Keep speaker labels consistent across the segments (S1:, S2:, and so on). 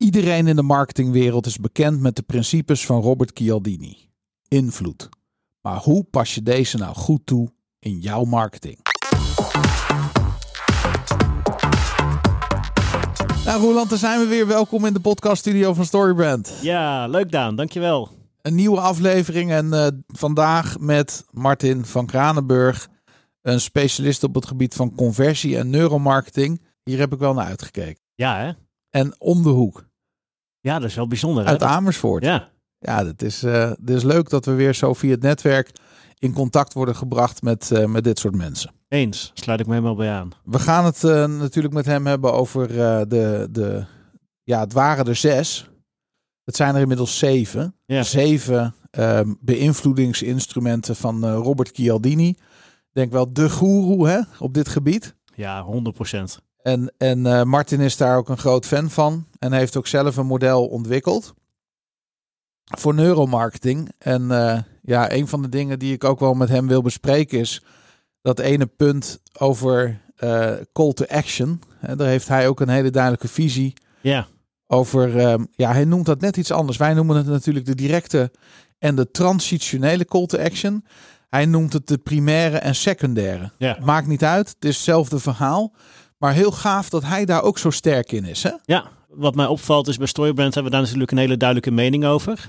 S1: Iedereen in de marketingwereld is bekend met de principes van Robert Cialdini. Invloed. Maar hoe pas je deze nou goed toe in jouw marketing? Nou Roland, daar zijn we weer. Welkom in de podcaststudio van Storybrand.
S2: Ja, leuk Daan, dankjewel.
S1: Een nieuwe aflevering en eh, vandaag met Martin van Kranenburg. Een specialist op het gebied van conversie en neuromarketing. Hier heb ik wel naar uitgekeken.
S2: Ja, hè?
S1: En om de hoek,
S2: Ja, dat is wel bijzonder. hè?
S1: uit Amersfoort.
S2: Ja,
S1: Ja, dat is, eh dat is leuk dat we weer zo via het netwerk in contact worden gebracht met, eh, met dit soort mensen.
S2: eens. Sluit ik me helemaal bij aan.
S1: We gaan het eh, natuurlijk met hem hebben over eh, de, de... Ja, het waren er zes. Het zijn er inmiddels zeven.
S2: Ja.
S1: Zeven eh, beïnvloedingsinstrumenten van eh, Robert Cialdini. Ik Denk wel de goeroe hè, op dit gebied.
S2: Ja, 100%.
S1: En, en eh, Martin is daar ook een groot fan van. En heeft ook zelf een model ontwikkeld. Voor neuromarketing. En eh, ja, een van de dingen die ik ook wel met hem wil bespreken is. Dat ene punt over eh, call to action. En daar heeft hij ook een hele duidelijke visie
S2: Ja,
S1: over. ehm, ja, hij noemt dat net iets anders. Wij noemen het natuurlijk de directe en de transitionele call to action. Hij noemt het de primaire en secundaire.
S2: ja.
S1: Maakt niet uit, het is hetzelfde verhaal. Maar heel gaaf dat hij daar ook zo sterk in is. Hè?
S2: ja. Wat mij opvalt is bij Storybrand hebben we daar natuurlijk een hele duidelijke mening over.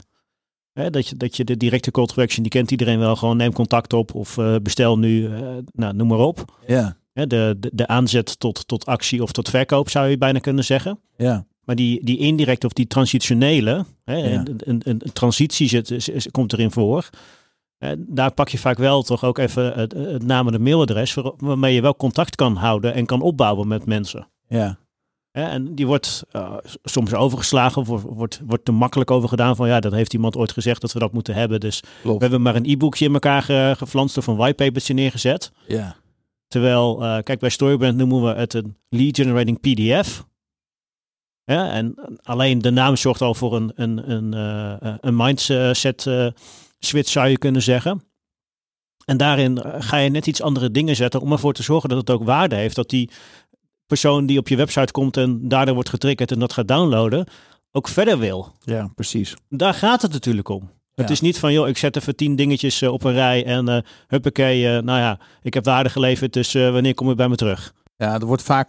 S2: Hè, dat, je, dat je de directe call to action, die kent iedereen wel. Gewoon neem contact op of eh, bestel nu, eh, nou, noem maar op.
S1: Ja,
S2: Hè, de, de, de aanzet tot, tot actie of tot verkoop zou je bijna kunnen zeggen.
S1: ja,
S2: Maar die, die indirecte of die transitionele, hè,
S1: Ja.
S2: een, een, een transitie zit, is- is- komt erin voor. Eh, daar pak je vaak wel toch ook even het, het naam en het mailadres, waar- waarmee je wel contact kan houden en kan opbouwen met mensen.
S1: ja,
S2: Hè, en die wordt eh, s- soms overgeslagen of wordt, wordt, wordt er makkelijk over gedaan van ja, dat heeft iemand ooit gezegd dat we dat moeten hebben. Dus we
S1: klopt.
S2: hebben maar een e-boekje in elkaar ge- geflanst of een whitepapertje neergezet.
S1: Ja,
S2: Terwijl, eh, kijk, bij Storybrand noemen we het een lead generating PDF. Ja, en alleen de naam zorgt al voor een, een, een, eh, een mindset eh, switch, zou je kunnen zeggen. En daarin eh, ga je net iets andere dingen zetten om ervoor te zorgen dat het ook waarde heeft. Dat die persoon die op je website komt en daardoor wordt getriggerd en dat gaat downloaden, ook verder wil.
S1: ja, precies.
S2: Daar gaat het natuurlijk om. Het
S1: Ja.
S2: is niet van, joh, ik zet even tien dingetjes eh, op een rij en eh huppakee, eh, nou ja, ik heb waarde geleverd, dus eh, wanneer kom je bij me terug?
S1: Ja, er wordt vaak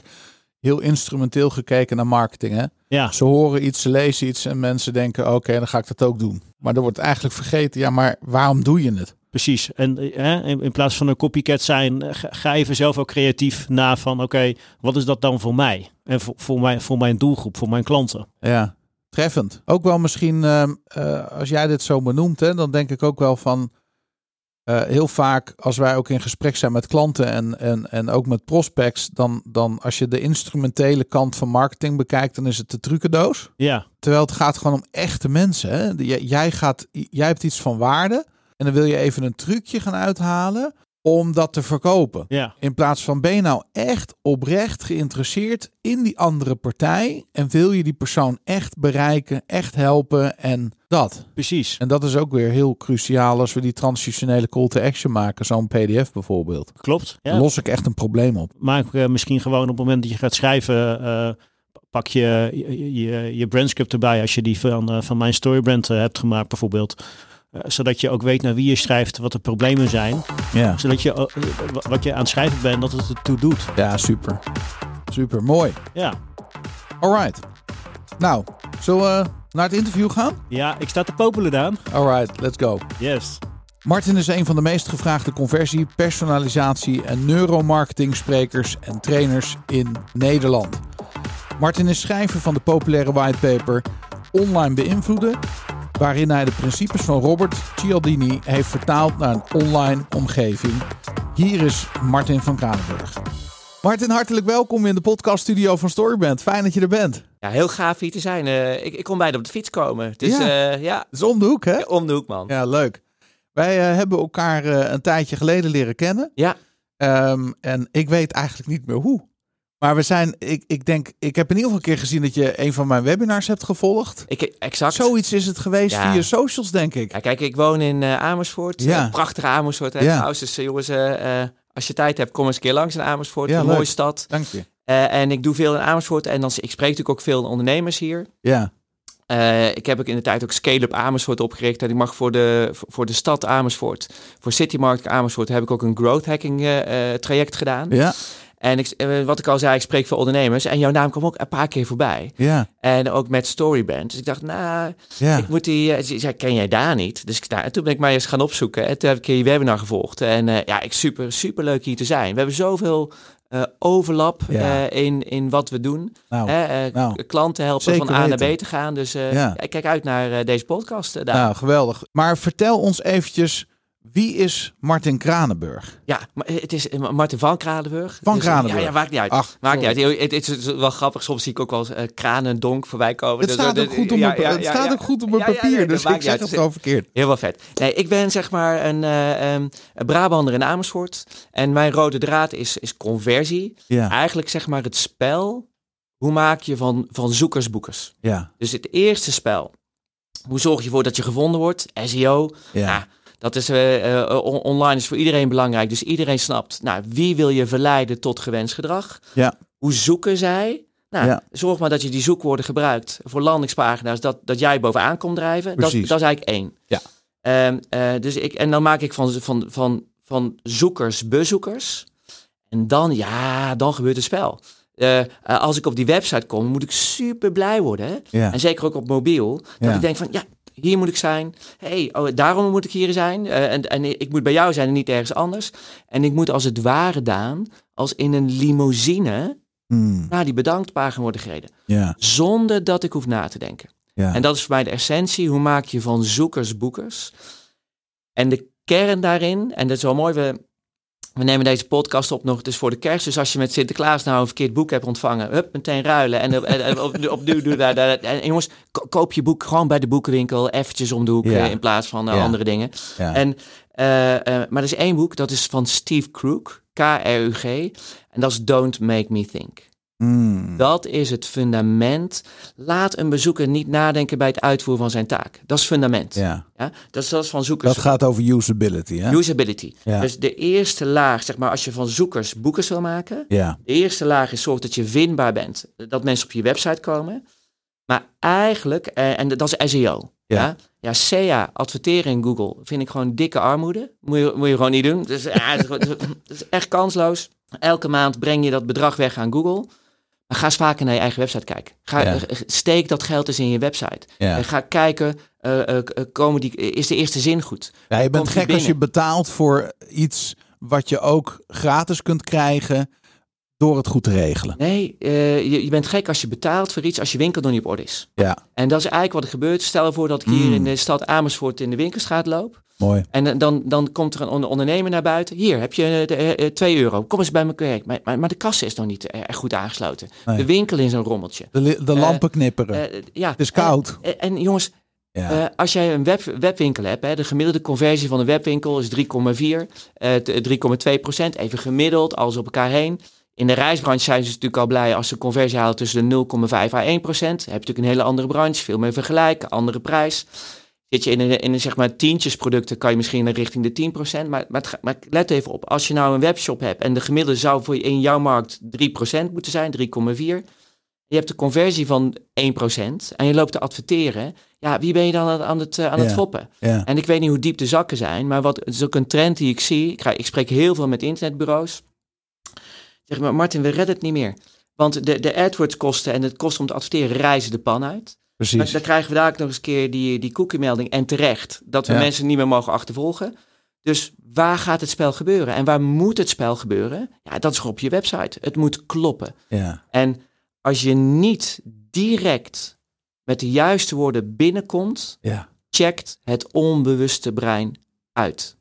S1: heel instrumenteel gekeken naar marketing. Hè?
S2: Ja,
S1: Ze horen iets, ze lezen iets en mensen denken: oké, dan ga ik dat ook doen. Maar er wordt eigenlijk vergeten: ja, maar waarom doe je het?
S2: precies. En eh, hè, in, in plaats van een copycat zijn, eh, ga- ga even zelf ook creatief na van, oké, wat is dat dan voor mij? En voor, voor, mijn, voor mijn doelgroep, voor mijn klanten.
S1: Ja, treffend. Ook wel misschien, ehm, eh, als jij dit zo benoemt, hè, dan denk ik ook wel van eh, heel vaak als wij ook in gesprek zijn met klanten en, en, en ook met prospects, dan, dan als je de instrumentele kant van marketing bekijkt, dan is het de trucendoos.
S2: Ja,
S1: Terwijl het gaat gewoon om echte mensen. Hè? Die- jij- Jij, gaat, jij hebt iets van waarde en dan wil je even een trucje gaan uithalen om dat te verkopen.
S2: ja,
S1: In plaats van ben je nou echt oprecht geïnteresseerd in die andere partij en wil je die persoon echt bereiken, echt helpen en dat.
S2: precies.
S1: En dat is ook weer heel cruciaal als we die transitionele call to action maken, zo'n PDF bijvoorbeeld.
S2: Klopt.
S1: Dan
S2: Ja.
S1: los ik echt een probleem op.
S2: Maak eh, misschien gewoon op het moment dat je gaat schrijven, eh, pak je je, je je brandscript erbij als je die van, eh, van mijn storybrand eh, hebt gemaakt bijvoorbeeld. Eh, zodat je ook weet naar wie je schrijft, wat de problemen zijn.
S1: Ja,
S2: Zodat je eh, wa- wat je aan het schrijven bent, dat het ertoe doet.
S1: ja super. Super, mooi.
S2: Ja.
S1: Alright. Nou, zullen we naar het interview gaan?
S2: ja, ik sta te popelen, Daan.
S1: Alright, let's go.
S2: Yes.
S1: Martin is een van de meest gevraagde conversie, personalisatie en neuromarketing sprekers en trainers in Nederland. Martin is schrijver van de populaire whitepaper Online beïnvloeden, waarin hij de principes van Robert Cialdini heeft vertaald naar een online omgeving. Hier is Martin van Kranenburg. Martin, hartelijk welkom in de podcaststudio van Storyband. Fijn dat je er bent. Het
S3: Ja, heel gaaf hier te zijn. Eh, ik, ik kon bijna op de fiets komen. Dus
S1: Ja.
S3: ja, ja
S1: is om de hoek, hè?
S3: om de hoek, man. Ja,
S1: Ja, leuk. Wij eh, hebben elkaar eh, een tijdje geleden leren kennen. Ehm, en ik weet eigenlijk niet meer hoe. Maar we zijn, ik, ik denk, ik heb in ieder geval een keer gezien dat je een van mijn webinars hebt gevolgd.
S3: ik, exact.
S1: Zoiets is het geweest
S3: Ja.
S1: via socials, denk ik.
S3: Ja, kijk, ik woon in eh, Amersfoort.
S1: Ja.
S3: Eh, prachtige Amersfoort. Hè,
S1: Ja.
S3: trouwens. Dus eh, jongens, eh, eh, als je tijd hebt, kom eens een keer langs in Amersfoort.
S1: Ja,
S3: een
S1: leuk.
S3: mooie stad.
S1: Dank je.
S3: Eh, en ik doe veel in Amersfoort. En dan, ik spreek natuurlijk ook veel ondernemers hier.
S1: Ja,
S3: Eh, ik heb ook in de tijd ook Scale-up Amersfoort opgericht. En ik mag voor de, voor de stad Amersfoort, voor City Market Amersfoort, heb ik ook een growth hacking eh, eh, traject gedaan.
S1: Ja,
S3: En ik, eh, wat ik al zei, ik spreek voor ondernemers. En jouw naam kwam ook een paar keer voorbij.
S1: ja,
S3: En ook met Storyband. Dus ik dacht, nou,
S1: ja.
S3: ik moet die... eh, ze zei, ken jij daar niet? Dus ik, nou, en toen ben ik mij eens gaan opzoeken. En toen heb ik je webinar gevolgd. En eh, ja, ik super, super leuk hier te zijn. We hebben zoveel eh, overlap
S1: Ja.
S3: eh, in, in wat we doen.
S1: Nou,
S3: Hè, eh,
S1: nou.
S3: k- klanten helpen
S1: Zeker
S3: van A naar
S1: weten.
S3: B te gaan. Dus eh,
S1: Ja.
S3: ja, ik kijk uit naar eh, deze podcast. eh, daar.
S1: nou, geweldig. Maar vertel ons eventjes, wie is Martin Kranenburg?
S3: Ja, maar het is eh, Martin van Kranenburg.
S1: Van
S3: Dus, eh,
S1: Kranenburg. Ah,
S3: Ja, ja, maakt niet uit.
S1: Ach,
S3: maakt niet uit. Het, het is wel grappig. Soms zie ik ook wel eens eh, kranendonk voorbij komen.
S1: Het
S3: Dus,
S1: staat
S3: eh,
S1: ook goed op
S3: ja,
S1: mijn,
S3: ja,
S1: het
S3: ja,
S1: staat
S3: ja.
S1: ook goed op mijn
S3: Ja, ja, ja,
S1: papier,
S3: dat
S1: dus
S3: maakt
S1: ik
S3: niet
S1: zeg
S3: uit.
S1: het gewoon verkeerd.
S3: Heel wel vet. Nee, ik ben zeg maar een, eh, ehm, een Brabander in Amersfoort. En mijn rode draad is, is conversie.
S1: Ja,
S3: Eigenlijk zeg maar het spel. Hoe maak je van, van zoekers boekers?
S1: ja,
S3: Dus het eerste spel. Hoe zorg je ervoor dat je gevonden wordt? E SEO.
S1: ja,
S3: Ja, dat is, eh, eh, on- online is voor iedereen belangrijk. Dus iedereen snapt, nou, wie wil je verleiden tot gewenst gedrag?
S1: Ja.
S3: Hoe zoeken zij? Nou,
S1: Ja.
S3: zorg maar dat je die zoekwoorden gebruikt voor landingspagina's, dat, dat jij bovenaan komt drijven. Dat, dat
S1: Precies.
S3: is eigenlijk één.
S1: Ja.
S3: Ehm, eh, dus ik, en dan maak ik van, van, van, van zoekers bezoekers. En dan, ja, dan gebeurt het spel. Eh, eh, als ik op die website kom, moet ik super blij worden. Hè?
S1: ja,
S3: En zeker ook op mobiel. Dat
S1: Ja.
S3: ik denk van, ja, hier moet ik zijn. hey, oh, daarom moet ik hier zijn. Eh, en, en ik moet bij jou zijn en niet ergens anders. En ik moet als het ware, Daan, als in een limousine
S1: Hmm,
S3: naar die bedanktpagina worden gereden.
S1: ja,
S3: Zonder dat ik hoef na te denken.
S1: ja.
S3: En dat is voor mij de essentie. Hoe maak je van zoekers boekers? En de kern daarin, en dat is wel mooi, we, we nemen deze podcast op nog, dus voor de kerst. Dus als je met Sinterklaas nou een verkeerd boek hebt ontvangen, hup, meteen ruilen. En, op, en, en op, opnieuw doe daar, daar. En, en jongens, ko- koop je boek gewoon bij de boekenwinkel, eventjes om de hoek,
S1: Ja.
S3: eh, in plaats van eh,
S1: Ja.
S3: andere dingen.
S1: Ja.
S3: En, eh, eh, maar er is één boek, dat is van Steve Krug, K-R-U-G. En dat is Don't Make Me Think.
S1: Hmm,
S3: Dat is het fundament. Laat een bezoeker niet nadenken bij het uitvoeren van zijn taak. Dat is fundament. Ja.
S1: ja.
S3: Dat is dat is van zoekers.
S1: Dat gaat over usability, hè?
S3: Usability.
S1: Ja.
S3: Dus de eerste laag, zeg maar, als je van zoekers boekers wil maken.
S1: Ja,
S3: De eerste laag is zorg dat je vindbaar bent. Dat mensen op je website komen. Maar eigenlijk, eh, en dat is SEO.
S1: Ja.
S3: Ja, ja SEA, adverteren in Google, vind ik gewoon dikke armoede. Moet je, moet je gewoon niet doen. Dus, ja, het, is, gewoon- het is echt kansloos. Elke maand breng je dat bedrag weg aan Google. Maar ga eens vaker naar je eigen website kijken. Ga,
S1: Ja.
S3: eh, Steek dat geld eens in je website.
S1: ja.
S3: En ga kijken, eh, eh, komen die, is de eerste zin goed?
S1: Ja, je bent
S3: Komt die
S1: gek als je
S3: binnen.
S1: betaalt voor iets wat je ook gratis kunt krijgen door het goed te regelen.
S3: Nee, eh, je, je bent gek als je betaalt voor iets als je winkel nog niet op orde is.
S1: Ja,
S3: En dat is eigenlijk wat er gebeurt. Stel ervoor dat ik hier
S1: Mm.
S3: in de stad Amersfoort in de winkelstraat loop.
S1: mooi.
S3: En eh, dan, dan komt er een on- ondernemer naar buiten. Hier, heb je eh, de, eh, eh, 2 euro. Kom eens bij me werk. Maar, maar, maar de kassa is nog niet eh, echt goed aangesloten.
S1: Nee.
S3: De winkel is een rommeltje.
S1: De, li- de
S3: Eh,
S1: lampen knipperen.
S3: Eh, eh, ja.
S1: het is koud.
S3: En, en jongens,
S1: Ja,
S3: eh, als jij een web, webwinkel hebt, hè, de gemiddelde conversie van een webwinkel is 3,4, eh, t- 3,2 procent. Even gemiddeld, alles op elkaar heen. In de reisbranche zijn ze natuurlijk al blij als ze een conversie halen tussen de 0,5 à 1 procent. Heb je natuurlijk een hele andere branche, veel meer vergelijken, andere prijs. Zit je in een, in een zeg maar tientjesproducten, kan je misschien naar richting de 10 procent. Maar, maar, het ga- maar let even op, als je nou een webshop hebt en de gemiddelde zou voor je- in jouw markt 3 procent moeten zijn, 3,4. Je hebt de conversie van 1 procent en je loopt te adverteren. Ja, wie ben je dan aan, aan het, eh, aan het
S1: Ja.
S3: foppen?
S1: ja,
S3: En ik weet niet hoe diep de zakken zijn, maar wat het is ook een trend die ik zie. Ik, krijg- ik spreek heel veel met internetbureaus. Zeg maar, Martin, we redden het niet meer. Want de, de AdWords-kosten en het kosten om te adverteren reizen de pan uit. Dan,
S1: precies.
S3: dan krijgen we daar ook nog eens een keer die, die cookie-melding. En terecht, dat we
S1: Ja.
S3: mensen niet meer mogen achtervolgen. Dus waar gaat het spel gebeuren? En waar moet het spel gebeuren? Ja, dat is gewoon op je website. Het moet kloppen.
S1: Ja,
S3: En als je niet direct met de juiste woorden binnenkomt,
S1: ja,
S3: checkt het onbewuste brein uit.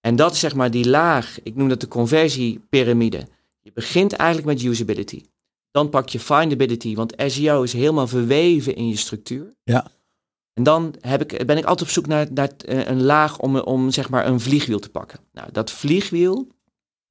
S3: En dat is zeg maar die laag, ik noem dat de conversiepyramide. Je begint eigenlijk met usability. Dan pak je findability, want SEO is helemaal verweven in je structuur.
S1: Ja.
S3: En dan heb ik, ben ik altijd op zoek naar, naar eh, een laag om, om zeg maar een vliegwiel te pakken. Nou, dat vliegwiel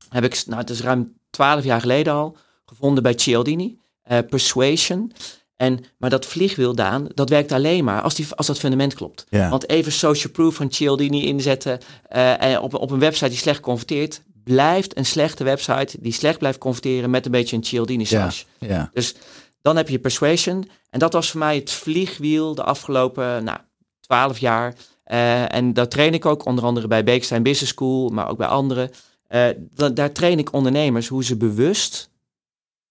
S3: heb ik, nou het is ruim twaalf jaar geleden al, gevonden bij Cialdini. eh, Persuasion. En, maar dat vliegwiel, Daan, dat werkt alleen maar als, die, als dat fundament klopt.
S1: ja.
S3: Want even social proof van Cialdini inzetten eh, en op, op een website die slecht converteert, blijft een slechte website die slecht blijft converteren met een beetje een Cialdini saus.
S1: ja.
S3: Dus Dan heb je persuasion. En dat was voor mij het vliegwiel de afgelopen nou, 12 jaar. Eh, en dat train ik ook onder andere bij Beekstein Business School, maar ook bij anderen. Eh, da- daar train ik ondernemers hoe ze bewust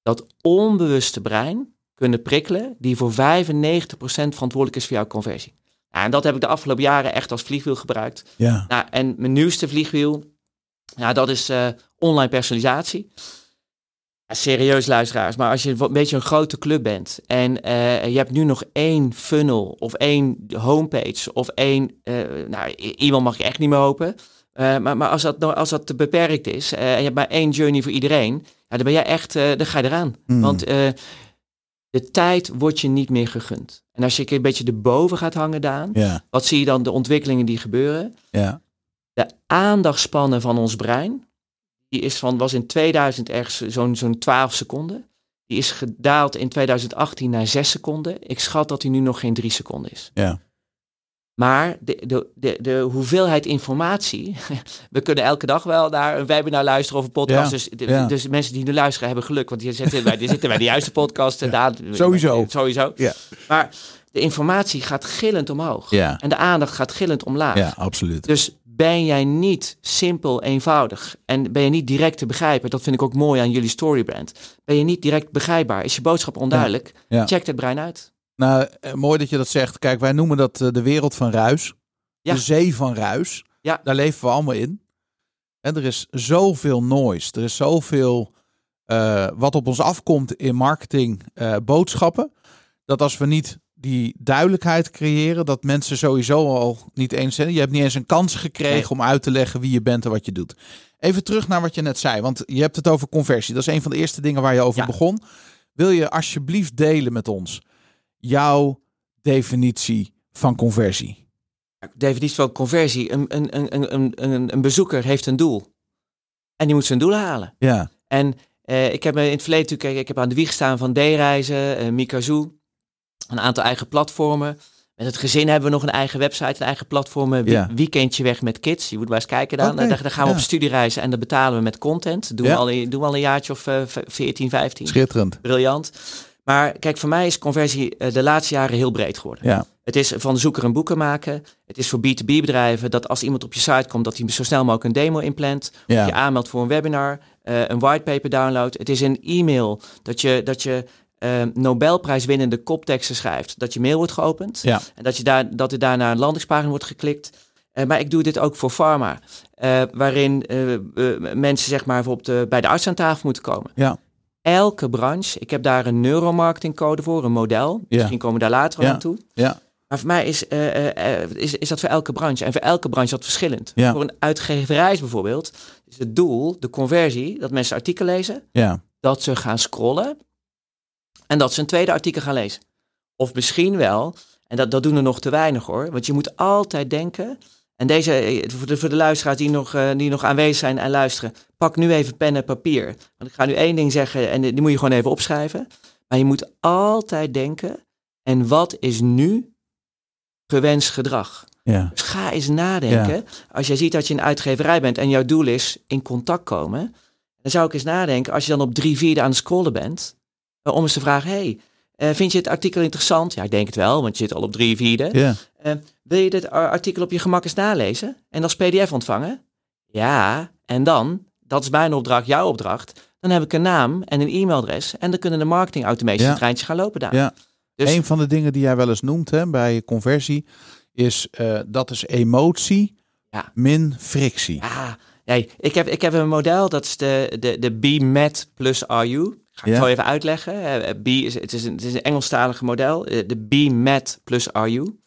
S3: dat onbewuste brein kunnen prikkelen, die voor 95% verantwoordelijk is voor jouw conversie. Ja, en dat heb ik de afgelopen jaren echt als vliegwiel gebruikt.
S1: Ja.
S3: Nou, en mijn nieuwste vliegwiel, nou, dat is eh, online personalisatie. Ja, serieus luisteraars, maar als je wat- een beetje een grote club bent en eh, je hebt nu nog één funnel of één homepage of één, eh, nou, i- iemand mag ik echt niet meer hopen. Eh, maar, maar als dat, nou- als dat te beperkt is eh, en je hebt maar één journey voor iedereen, ja, dan ben jij echt, eh, dan ga je eraan.
S1: Hmm.
S3: Want eh, de tijd wordt je niet meer gegund. En als je een beetje erboven gaat hangen, Daan,
S1: ja,
S3: wat zie je dan de ontwikkelingen die gebeuren?
S1: ja,
S3: de aandachtspannen van ons brein, die is van, was in 2000 ergens zo'n zo'n 12 seconden. Die is gedaald in 2018 naar 6 seconden. Ik schat dat die nu nog geen 3 seconden is.
S1: Ja.
S3: Maar de, de, de, de hoeveelheid informatie. We kunnen elke dag wel naar een webinar luisteren of een podcast.
S1: Ja,
S3: dus, de-
S1: ja.
S3: dus de mensen die nu luisteren hebben geluk. Want die zitten bij, die zitten bij de juiste podcast. en daar-
S1: sowieso.
S3: sowieso.
S1: Ja.
S3: Maar de informatie gaat gillend omhoog.
S1: ja,
S3: En de aandacht gaat gillend omlaag.
S1: ja, absoluut.
S3: Dus ben jij niet simpel, eenvoudig en ben je niet direct te begrijpen, dat vind ik ook mooi aan jullie storybrand. Ben je niet direct begrijpbaar, is je boodschap onduidelijk,
S1: Ja.
S3: check het brein uit.
S1: Nou, eh, mooi dat je dat zegt. Kijk, wij noemen dat eh, de wereld van ruis.
S3: Ja.
S1: De zee van ruis.
S3: Ja.
S1: Daar leven we allemaal in. En er is zoveel noise. Er is zoveel eh, wat op ons afkomt in marketing eh, boodschappen. Dat als we niet die duidelijkheid creëren, dat mensen sowieso al niet eens zijn. Je hebt niet eens een kans gekregen
S3: Nee.
S1: om uit te leggen wie je bent en wat je doet. Even terug naar wat je net zei, want je hebt het over conversie. Dat is een van de eerste dingen waar je over
S3: Ja.
S1: begon. Wil je alsjeblieft delen met ons jouw definitie van conversie?
S3: Definitie van conversie, een, een, een, een- een, een, een bezoeker heeft een doel en die moet zijn doel halen.
S1: Ja,
S3: En eh, ik heb me in het verleden natuurlijk, ik heb aan de wieg staan van D-reizen, eh Mikazoo, een aantal eigen platformen. Met het gezin hebben we nog een eigen website, een eigen platform. eh, wie-
S1: Ja.
S3: Weekendje weg met kids. Je moet maar eens kijken dan.
S1: Oké,
S3: Eh, daar, daar gaan we
S1: ja.
S3: op studiereizen en dat betalen we met content. Doen,
S1: Ja.
S3: we, al, een- doen we al een jaartje of eh, v- 14, 15.
S1: schitterend.
S3: Briljant. Maar kijk, voor mij is conversie eh, de laatste jaren heel breed geworden.
S1: Ja,
S3: Het is van zoeker een boeken maken. Het is voor B2B-bedrijven dat als iemand op je site komt, dat hij zo snel mogelijk een demo inplant.
S1: ja.
S3: Je aanmeldt voor een webinar, eh, een whitepaper download. Het is een e-mail dat je, dat je eh, Nobelprijswinnende kopteksten schrijft. Dat je mail wordt geopend.
S1: Ja.
S3: En dat, je daar, dat er daarna een landingspagina wordt geklikt. Eh, maar ik doe dit ook voor pharma. eh, waarin eh, eh, mensen zeg maar, op de, bij de arts aan tafel moeten komen.
S1: Ja.
S3: Elke branche, ik heb daar een neuromarketingcode voor, een model.
S1: Ja.
S3: Misschien komen we daar later
S1: Ja.
S3: aan toe.
S1: Ja.
S3: Maar voor mij is, eh, eh, eh, is, is dat voor elke branche. En voor elke branche is dat verschillend.
S1: Ja.
S3: Voor een uitgeverij bijvoorbeeld is het doel, de conversie, dat mensen artikel lezen,
S1: Ja,
S3: dat ze gaan scrollen en dat ze een tweede artikel gaan lezen. Of misschien wel, en dat, dat doen er nog te weinig hoor, want je moet altijd denken, en deze, eh, voor de, voor de luisteraars die nog, eh, die nog aanwezig zijn en luisteren, pak nu even pen en papier. Want ik ga nu één ding zeggen en die die moet je gewoon even opschrijven. Maar je moet altijd denken, en wat is nu gewenst gedrag?
S1: ja,
S3: Dus ga eens nadenken. Als jij ziet dat je een uitgeverij bent en jouw doel is in contact komen, dan zou ik eens nadenken, als je dan op drie vierde aan het scrollen bent, eh, om eens te vragen, hey, eh, vind je het artikel interessant? Ja, ik denk het wel, want je zit al op drie vierde.
S1: ja.
S3: Eh, wil je dit ar- artikel op je gemak eens nalezen en als pdf ontvangen? Ja, en dan, dat is mijn opdracht, jouw opdracht, dan heb ik een naam en een e-mailadres en dan kunnen de marketing automation
S1: Ja.
S3: het treintje gaan lopen daar.
S1: Ja.
S3: Dus-
S1: Een van de dingen die jij wel eens noemt hè, bij conversie is eh, dat is emotie
S3: Ja.
S1: min frictie.
S3: Ja, nee, Ah, ik, heb, ik heb een model, dat is de, de, de B-MET plus RU. Ga ik
S1: Ja.
S3: zo even uitleggen. Eh, eh, B is, het, is een, het is een Engelstalig model, eh, de B-MET plus RU.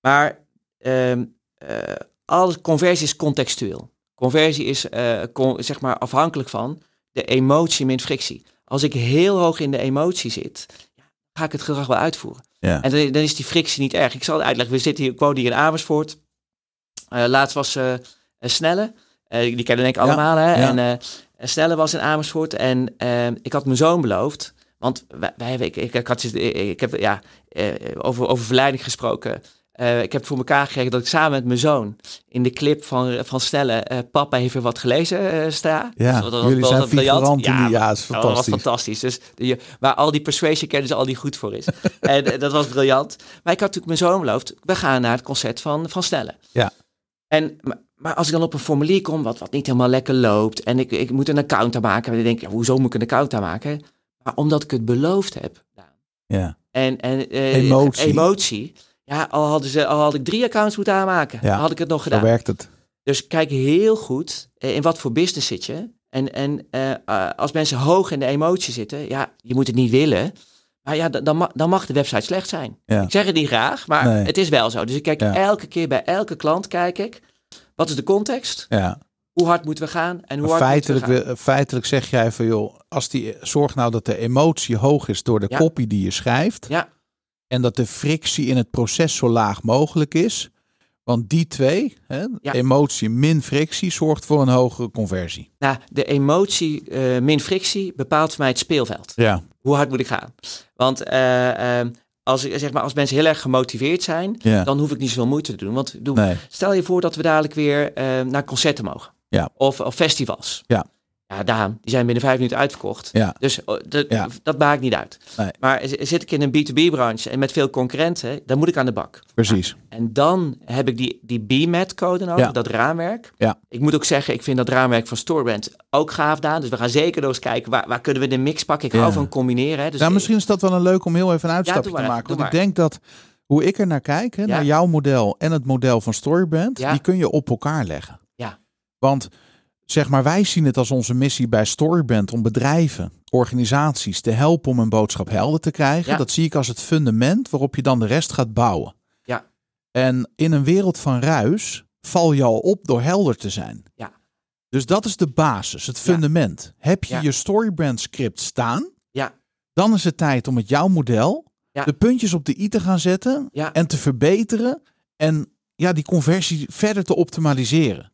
S3: Maar ehm eh, alle conversie is contextueel. Conversie is eh, con- zeg maar afhankelijk van de emotie min frictie. Als ik heel hoog in de emotie zit, ja, ga ik het gedrag wel uitvoeren.
S1: Ja.
S3: En dan, dan is die frictie niet erg. Ik zal het uitleggen. We zitten hier, ik woon hier in Amersfoort. Eh, laatst was eh, eh, Snelle. Eh, die kennen denk ik
S1: Ja,
S3: allemaal. Hè?
S1: ja.
S3: En eh, Snelle was in Amersfoort. En eh, ik had mijn zoon beloofd. Want wij, wij hebben- ik, ik, ik, had, ik, ik heb ja, eh, over, over verleiding gesproken. Eh, Eh, ik heb voor elkaar gekregen dat ik samen met mijn zoon in de clip van, van Snelle eh, Papa heeft er wat gelezen eh sta.
S1: Ja,
S3: Dus dat- dat-
S1: jullie
S3: dat-
S1: zijn
S3: dat-
S1: figuranten.
S3: Ja,
S1: Ja, ja, is
S3: ja, dat was
S1: fantastisch.
S3: fantastisch. Dus je, waar al die persuasion kennis al die goed voor is. en eh, dat was briljant. Maar ik had natuurlijk mijn zoon beloofd, we gaan naar het concert van, van Snelle.
S1: Ja.
S3: En, maar, maar als ik dan op een formulier kom wat, wat niet helemaal lekker loopt en ik, ik moet een account aanmaken. En dan denk ik, ja, hoezo moet ik een account aanmaken? Maar omdat ik het beloofd heb.
S1: Ja,
S3: En, en eh,
S1: Emotie.
S3: emotie. Ja, al, hadden ze, al had ik drie accounts moeten aanmaken,
S1: Ja,
S3: had ik het nog
S1: zo
S3: gedaan.
S1: werkt het.
S3: Dus kijk heel goed eh, in wat voor business zit je. En, en eh, eh, als mensen hoog in de emotie zitten, ja, je moet het niet willen. Maar ja, dan, dan, ma- dan mag de website slecht zijn.
S1: Ja.
S3: Ik zeg het niet graag, maar
S1: Nee.
S3: het is wel zo. Dus ik kijk
S1: Ja.
S3: elke keer bij elke klant, kijk ik, wat is de context?
S1: Ja.
S3: Hoe hard moeten we gaan? En hoe
S1: Maar
S3: hard
S1: feitelijk,
S3: moeten we gaan?
S1: wil- feitelijk zeg jij van joh, als die, zorg nou dat de emotie hoog is door de
S3: Ja.
S1: kopie die je schrijft.
S3: Ja.
S1: En dat de frictie in het proces zo laag mogelijk is. Want die twee, hè,
S3: Ja.
S1: emotie min frictie, zorgt voor een hogere conversie.
S3: Nou, de emotie eh, min frictie bepaalt voor mij het speelveld.
S1: Ja,
S3: Hoe hard moet ik gaan? Want eh, eh, als, ik- zeg maar, als mensen heel erg gemotiveerd zijn,
S1: ja.
S3: dan hoef ik niet zoveel moeite te doen. Want doe,
S1: nee.
S3: Stel je voor dat we dadelijk weer eh, naar concerten mogen.
S1: Ja.
S3: Of, of festivals.
S1: Ja.
S3: Ja, Daan, die zijn binnen vijf minuten uitverkocht.
S1: Ja.
S3: Dus oh, dat-
S1: Ja.
S3: dat maakt niet uit.
S1: Nee.
S3: Maar z- zit ik in een B2B-branche en met veel concurrenten, dan moet ik aan de bak.
S1: Precies.
S3: En dan heb ik die, die BMAT-code nodig,
S1: Ja.
S3: dat raamwerk.
S1: Ja. Ik
S3: Ik moet ook zeggen, ik vind dat raamwerk van Storebrand ook gaaf, Daan. Dus we gaan zeker nog eens kijken, waar, waar kunnen we de mix pakken? Ik
S1: Ja.
S3: hou van combineren. Hè. Dus
S1: nou, misschien is dat wel een leuk om heel even een uitstapje
S3: doe maar,
S1: te maken.
S3: doe
S1: Want ik denk dat hoe ik er naar kijk, hè,
S3: Ja.
S1: naar jouw model en het model van Storybrand,
S3: Ja.
S1: die kun je op elkaar leggen.
S3: Ja.
S1: Want zeg maar, wij zien het als onze missie bij Storybrand om bedrijven, organisaties te helpen om hun boodschap helder te krijgen.
S3: Ja.
S1: Dat zie ik als het fundament waarop je dan de rest gaat bouwen.
S3: Ja.
S1: En in een wereld van ruis val je al op door helder te zijn.
S3: Ja.
S1: Dus dat is de basis, het
S3: Ja.
S1: fundament. Heb je
S3: Ja.
S1: je Storybrand script staan?
S3: Ja.
S1: dan is het tijd om met jouw model
S3: Ja.
S1: de puntjes op de i te gaan zetten
S3: Ja.
S1: en te verbeteren en ja, die conversie verder te optimaliseren.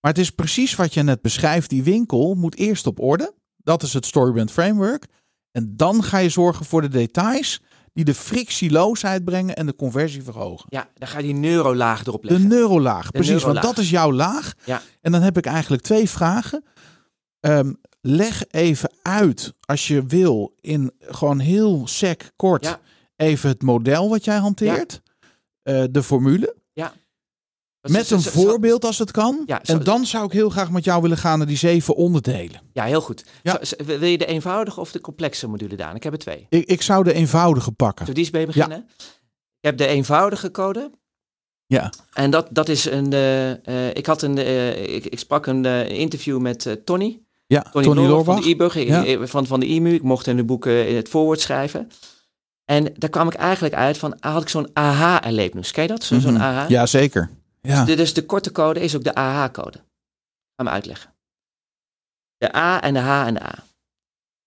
S1: Maar het is precies wat je net beschrijft, die winkel moet eerst op orde. Dat is het Storybrand Framework. En dan ga je zorgen voor de details die de frictieloosheid brengen en de conversie verhogen.
S3: Ja, dan ga je die neurolaag erop
S1: De
S3: leggen.
S1: neurolaag, precies,
S3: neurolaag.
S1: want dat is jouw laag.
S3: Ja.
S1: En dan heb ik eigenlijk twee vragen. Ehm, leg even uit, als je wil, in gewoon heel sec, kort,
S3: Ja.
S1: even het model wat jij hanteert. Eh, de formule.
S3: Dat
S1: met
S3: is-
S1: een
S3: zo- zo-
S1: voorbeeld als het kan.
S3: Ja, zo-
S1: en dan zou ik heel graag met jou willen gaan naar die zeven onderdelen.
S3: Ja, heel goed.
S1: Ja.
S3: Zo- zo- wil je de eenvoudige of de complexe module, Daan? Ik heb er twee.
S1: Ik, ik zou de eenvoudige pakken.
S3: Zullen we die eens mee beginnen? Ik heb de eenvoudige code.
S1: Ja.
S3: En dat, dat is een. eh, eh, ik, had een eh, ik, ik sprak een eh, interview met eh, Tony.
S1: Ja,
S3: Tony,
S1: Tony, Loorbach.
S3: van de e-bug, eh,
S1: Ja.
S3: eh, van, van de IMU. Ik mocht in de boeken in het voorwoord schrijven. En daar kwam ik eigenlijk uit van. ah, had ik zo'n AH-erlevenis. Ken je dat? Zo- Zo'n
S1: Mhm.
S3: AH.
S1: Ja, zeker. Ja.
S3: De- dus de korte code is ook de AH-code. Ik ga hem uitleggen. De A en de H en de A.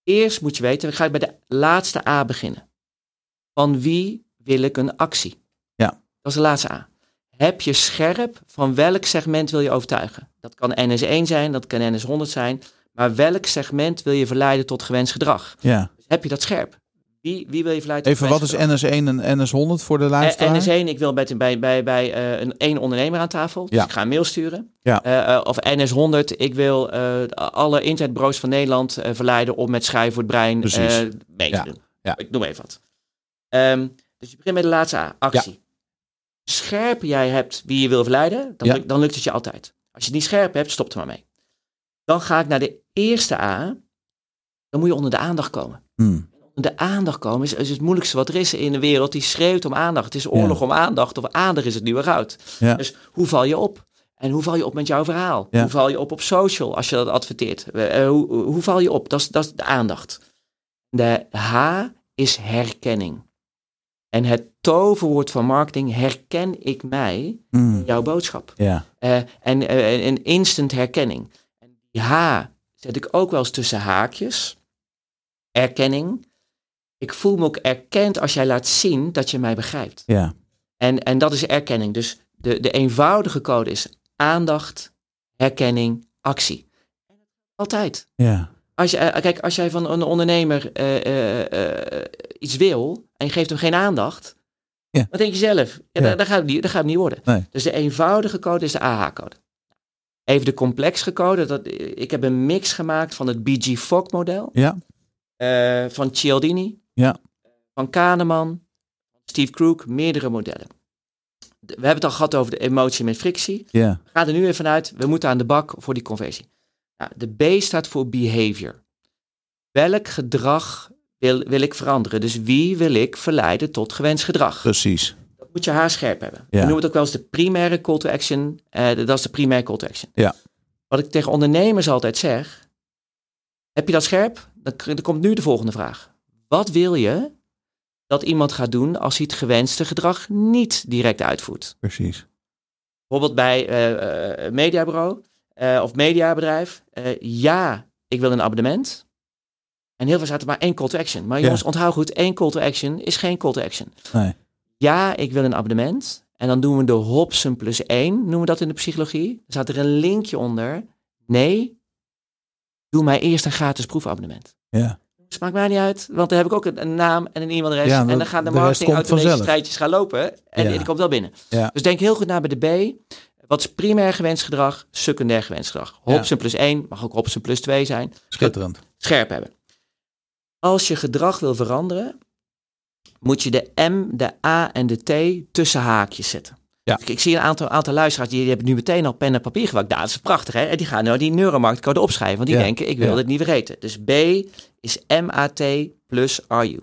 S3: Eerst moet je weten, we gaan bij de laatste A beginnen. Van wie wil ik een actie?
S1: Ja.
S3: Dat is de laatste A. Heb je scherp van welk segment wil je overtuigen? Dat kan NS1 zijn, dat kan NS100 zijn. Maar welk segment wil je verleiden tot gewenst gedrag?
S1: ja.
S3: Dus heb je dat scherp? Wie, wie wil je verleiden tot
S1: Even, wat
S3: gewenst
S1: is
S3: gedrag?
S1: NS1 en NS100 voor de
S3: En
S1: luisteraar?
S3: is Eh, één, ik wil met, bij, bij, bij eh, een één ondernemer aan tafel. Dus
S1: Ja.
S3: ik ga een mail sturen.
S1: Ja.
S3: Eh, eh, of NS100, ik wil eh, alle internetbureaus van Nederland eh, verleiden om met schrijven voor het brein eh,
S1: Precies.
S3: mee te
S1: Ja.
S3: doen.
S1: Ja.
S3: Ik noem even wat. Ehm, dus je begint met de laatste A, actie. Scherp jij hebt wie je wil verleiden, dan,
S1: Ja.
S3: lukt, dan lukt het je altijd. Als je het niet scherp hebt, stop er maar mee. Dan ga ik naar de eerste A. Dan moet je onder de aandacht komen
S1: Hm.
S3: de aandacht komen is, is het moeilijkste wat er is in de wereld. Die schreeuwt om aandacht. Het is oorlog om aandacht. Of aandacht is het nieuwe goud.
S1: Ja.
S3: Dus hoe val je op? En hoe val je op met jouw verhaal?
S1: Ja.
S3: Hoe val je op op social als je dat adverteert? Eh, eh, hoe, hoe val je op? Dat is, dat is de aandacht. De H is herkenning. En het toverwoord van marketing, herken ik mij,
S1: Hm.
S3: jouw boodschap.
S1: Ja.
S3: Eh, en eh, een instant herkenning. En die H zet ik ook wel eens tussen haakjes. Erkenning. Ik voel me ook erkend als jij laat zien dat je mij begrijpt.
S1: Ja.
S3: En, en dat is erkenning. Dus de, de eenvoudige code is aandacht, herkenning, actie. Altijd.
S1: Ja.
S3: Als je, eh, kijk, als jij van een ondernemer eh, eh, eh, iets wil en je geeft hem geen aandacht,
S1: Ja.
S3: Wat denk je zelf? Ja,
S1: Ja.
S3: Dat, dat, gaat het niet, dat gaat het niet worden.
S1: Nee.
S3: Dus de eenvoudige code is de AH-code. Even de complexere code. Dat, eh, ik heb een mix gemaakt van het BG-Fogg-model.
S1: Ja.
S3: eh, van Cialdini.
S1: Ja.
S3: Van Kahneman. Steve Crook. Meerdere modellen. De- We hebben het al gehad over de emotie met frictie.
S1: Ja.
S3: We gaan er nu even uit. We moeten aan de bak voor die conversie. Nou, de B staat voor behavior. Welk gedrag wil, wil ik veranderen? Dus wie wil ik verleiden tot gewenst gedrag?
S1: Precies.
S3: Dat moet je haar scherp hebben. We
S1: Ja.
S3: noemen het ook wel eens de primaire call to action. Eh, de- dat is de primaire call to action.
S1: Ja.
S3: Wat ik tegen ondernemers altijd zeg. Heb je dat scherp? Dan, k- dan komt nu de volgende vraag. Wat wil je dat iemand gaat doen als hij het gewenste gedrag niet direct uitvoert?
S1: Precies.
S3: bijvoorbeeld bij eh, eh, een mediabureau eh, of mediabedrijf. eh, ja, ik wil een abonnement. En heel veel zaten maar één call to action. Maar
S1: Ja.
S3: jongens, onthoud goed, één call to action is geen call to action.
S1: Nee.
S3: Ja, ik wil een abonnement. En dan doen we de Hobson plus één, noemen we dat in de psychologie. Dan staat er een linkje onder. Nee, doe mij eerst een gratis proefabonnement.
S1: Ja.
S3: Dus maakt mij niet uit, want dan heb ik ook een, een naam en een e-mailadres.
S1: Ja,
S3: en
S1: dat-
S3: dan gaan de,
S1: de rest
S3: marketing
S1: komt
S3: uit deze
S1: vanzelf.
S3: strijdjes gaan lopen. En
S1: Ja.
S3: die komt wel binnen.
S1: Ja.
S3: Dus denk heel goed na bij de B. Wat is primair gewenst gedrag, secundair gewenst gedrag?
S1: Ja.
S3: Hobson plus 1, mag ook Hobson plus 2 zijn.
S1: Schitterend.
S3: Scherp hebben. Als je gedrag wil veranderen, moet je de M, de A en de T tussen haakjes zetten. Dus
S1: Ja.
S3: Ik, ik zie een aantal, aantal luisteraars, die, die hebben nu meteen al pen en papier gepakt. Nou, dat is prachtig, hè? En die gaan nou die neuromarktcode opschrijven, want die
S1: Ja.
S3: denken, ik wil
S1: Ja.
S3: dit niet vergeten. Dus B is MAT plus RU.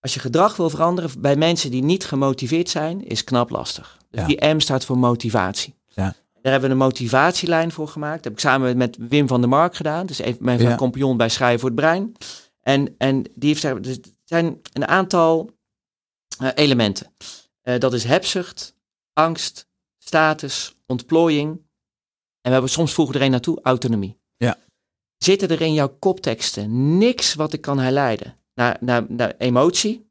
S3: Als je gedrag wil veranderen bij mensen die niet gemotiveerd zijn, is knap lastig. Dus
S1: Ja.
S3: die M staat voor motivatie.
S1: Ja.
S3: Daar hebben we een motivatielijn voor gemaakt. Dat heb ik samen met Wim van der Mark gedaan. Dus even mijn
S1: Ja.
S3: compagnon bij Schrijven voor het Brein. En, en die heeft, zeg- dus er zijn een aantal eh, elementen. Eh, dat is hebzucht, angst, status, ontplooiing. En we hebben soms voegen er een naartoe, autonomie.
S1: Ja.
S3: Zitten er in jouw kopteksten niks wat ik kan herleiden naar, naar, naar emotie?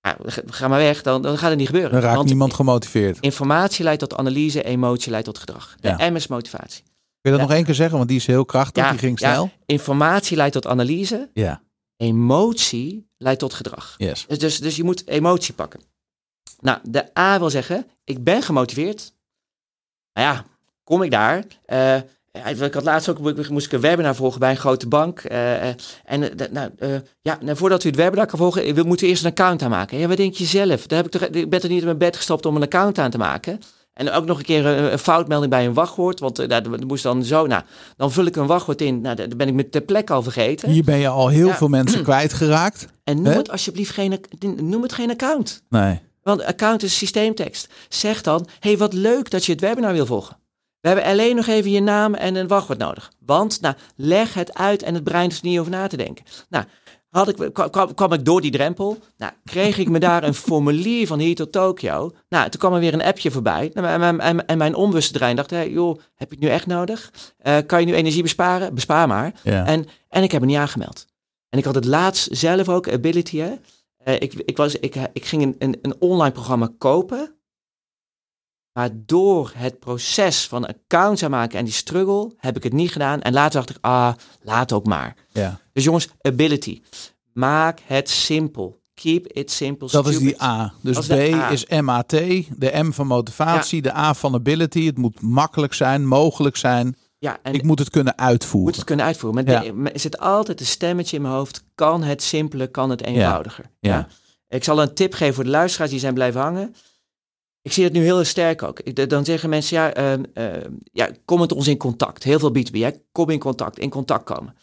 S3: Ja, ga- ga maar weg, dan, dan gaat het niet gebeuren.
S1: Dan raakt
S3: Want
S1: niemand gemotiveerd. Kun
S3: Informatie leidt tot analyse, emotie leidt tot gedrag. De
S1: Ja.
S3: M is motivatie.
S1: je dat
S3: Ja.
S1: nog één keer zeggen? Want die is heel krachtig.
S3: Ja,
S1: die ging
S3: ja.
S1: snel.
S3: Informatie leidt tot analyse,
S1: Ja.
S3: emotie leidt tot gedrag.
S1: Yes.
S3: Dus, dus, dus je moet emotie pakken. Nou, de A wil zeggen, ik ben gemotiveerd. Nou ja, kom ik daar. eh, ik had laatst ook, moest ik een webinar volgen bij een grote bank. eh, eh, en eh, de- nou, eh, ja, nou, voordat u het webinar kan volgen, eh, we moeten eerst een account aanmaken. Ja, wat denk je zelf? Daar heb ik, toch, eh, ik ben toch niet in mijn bed gestapt om een account aan te maken? En ook nog een keer een, een foutmelding bij een wachtwoord. Want eh, nou, dat moest dan zo. Nou, dan vul ik een wachtwoord in. Nou, dat dat ben ik me ter plekke al vergeten.
S1: Hier ben je al heel
S3: Ja.
S1: veel mensen kwijtgeraakt.
S3: En noem
S1: Hè?
S3: het alsjeblieft geen, noem het geen account.
S1: Nee.
S3: Want account is systeemtekst. Zeg dan, hey, wat leuk dat je het webinar wil volgen. We hebben alleen nog even je naam en een wachtwoord nodig. Want, nou, leg het uit en het brein hoeft er niet over na te denken. Nou, had ik, kwa- kwam, kwam ik door die drempel. Nou, kreeg ik me daar een formulier van hier tot Tokio. Nou, toen kwam er weer een appje voorbij. Nou, En mijn, en, en mijn onbewuste brein dacht, hey, joh, heb je het nu echt nodig? Eh, kan je nu energie besparen? Bespaar maar.
S1: Ja.
S3: En, en ik heb me niet aangemeld. En ik had het laatst zelf ook, Ability, hè. Eh, ik, ik, was, ik, ik ging een, een, een online programma kopen. Maar door het proces van accounts aanmaken en die struggle heb ik het niet gedaan. En later dacht ik, ah, laat ook maar.
S1: ja.
S3: Dus jongens, ability. Maak het simpel. Keep it simple.
S1: Dat is die
S3: stupid.
S1: A.
S3: Dat
S1: Dus
S3: is
S1: B
S3: de A.
S1: is MAT. De M van motivatie. De A van ability. Het moet makkelijk zijn, mogelijk zijn.
S3: Ja, en
S1: Ik moet het kunnen
S3: moet
S1: uitvoeren.
S3: het kunnen uitvoeren. Maar de- maar er zit altijd een stemmetje in mijn hoofd. Kan het simpeler, kan het eenvoudiger.
S1: Ja.
S3: Ik zal een tip geven voor de luisteraars die zijn blijven hangen. Ik zie dat nu heel sterk ook. Ik- d- Dan zeggen mensen, ja, ehm, ehm, ja, kom met ons in contact. Heel veel B2B, hè? kom in contact, in contact komen.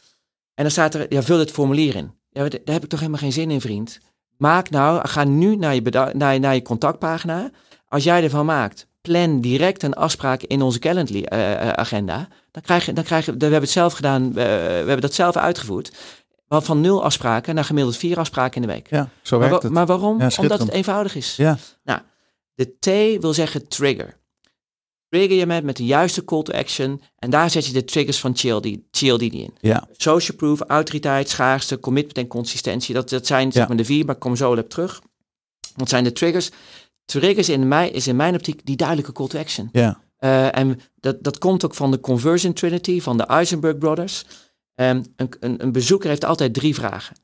S3: En dan staat er, ja, vul het formulier in. Ja, maar d- daar heb ik toch helemaal geen zin in, vriend. Maak nou, ga nu naar je, beda- naar, je- naar je contactpagina. Als jij ervan maakt, plan direct een afspraak in onze Calendly-agenda. dan krijg je, dan krijg je, we hebben het zelf gedaan, eh, we hebben dat zelf uitgevoerd. Wel Van nul afspraken naar gemiddeld vier afspraken in de week.
S1: Ja, zo
S3: Maar,
S1: werkt
S3: wa-
S1: het.
S3: maar waarom?
S1: Ja,
S3: Omdat het
S1: schitterend.
S3: eenvoudig is.
S1: Ja.
S3: Nou, de T wil zeggen trigger. Trigger je met, met de juiste call to action. En daar zet je de triggers van Cialdi- Cialdini in.
S1: Ja.
S3: Social proof, autoriteit, schaarste, commitment en consistentie. Dat, dat zijn zeg
S1: Ja.
S3: maar de vier, maar ik kom zo wel op terug. Dat zijn de triggers. Triggers in mij, is in mijn optiek die duidelijke call to action.
S1: Ja.
S3: Eh, en dat, dat komt ook van de Conversion Trinity van de Eisenberg Brothers. Ehm, een, een, een bezoeker heeft altijd drie vragen.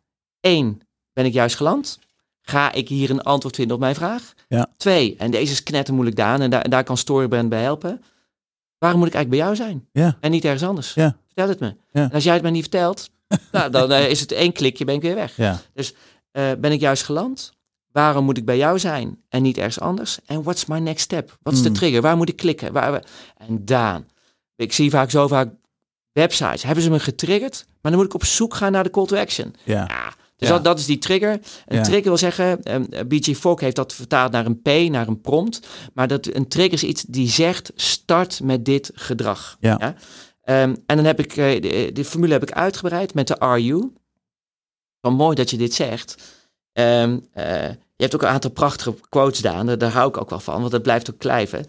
S3: Eén, ben ik juist geland? Ga ik hier een antwoord vinden op mijn vraag?
S1: Ja.
S3: Twee, en deze is knettermoeilijk Daan en daar, daar kan Storybrand bij helpen. Waarom moet ik eigenlijk bij jou zijn?
S1: Ja.
S3: En niet ergens anders?
S1: Ja.
S3: Vertel het me.
S1: Ja.
S3: En als jij het mij niet vertelt, nou, dan eh, is het één klikje, ben ik weer weg.
S1: Ja.
S3: Eh, ben ik juist geland? Waarom moet ik bij jou zijn en niet ergens anders? En what's my next step? Wat is de
S1: Mm.
S3: trigger? Waar moet ik klikken? Waar, waar- En Daan, ik zie vaak zo vaak websites. Hebben ze me getriggerd? Maar dan moet ik op zoek gaan naar de call to action.
S1: Ja.
S3: Ja, dus
S1: Ja.
S3: Dat, dat is die trigger. Een
S1: Ja.
S3: trigger wil zeggen, ehm, eh, BG Fogg heeft dat vertaald naar een P, naar een prompt. Maar dat, een trigger is iets die zegt, start met dit gedrag.
S1: Ja.
S3: Ehm, en dan heb ik, eh, de, de formule heb ik uitgebreid met de RU. Van mooi dat je dit zegt. Ehm, eh, je hebt ook een aantal prachtige quotes, Daan. Daar, daar hou ik ook wel van, want dat blijft ook kleven.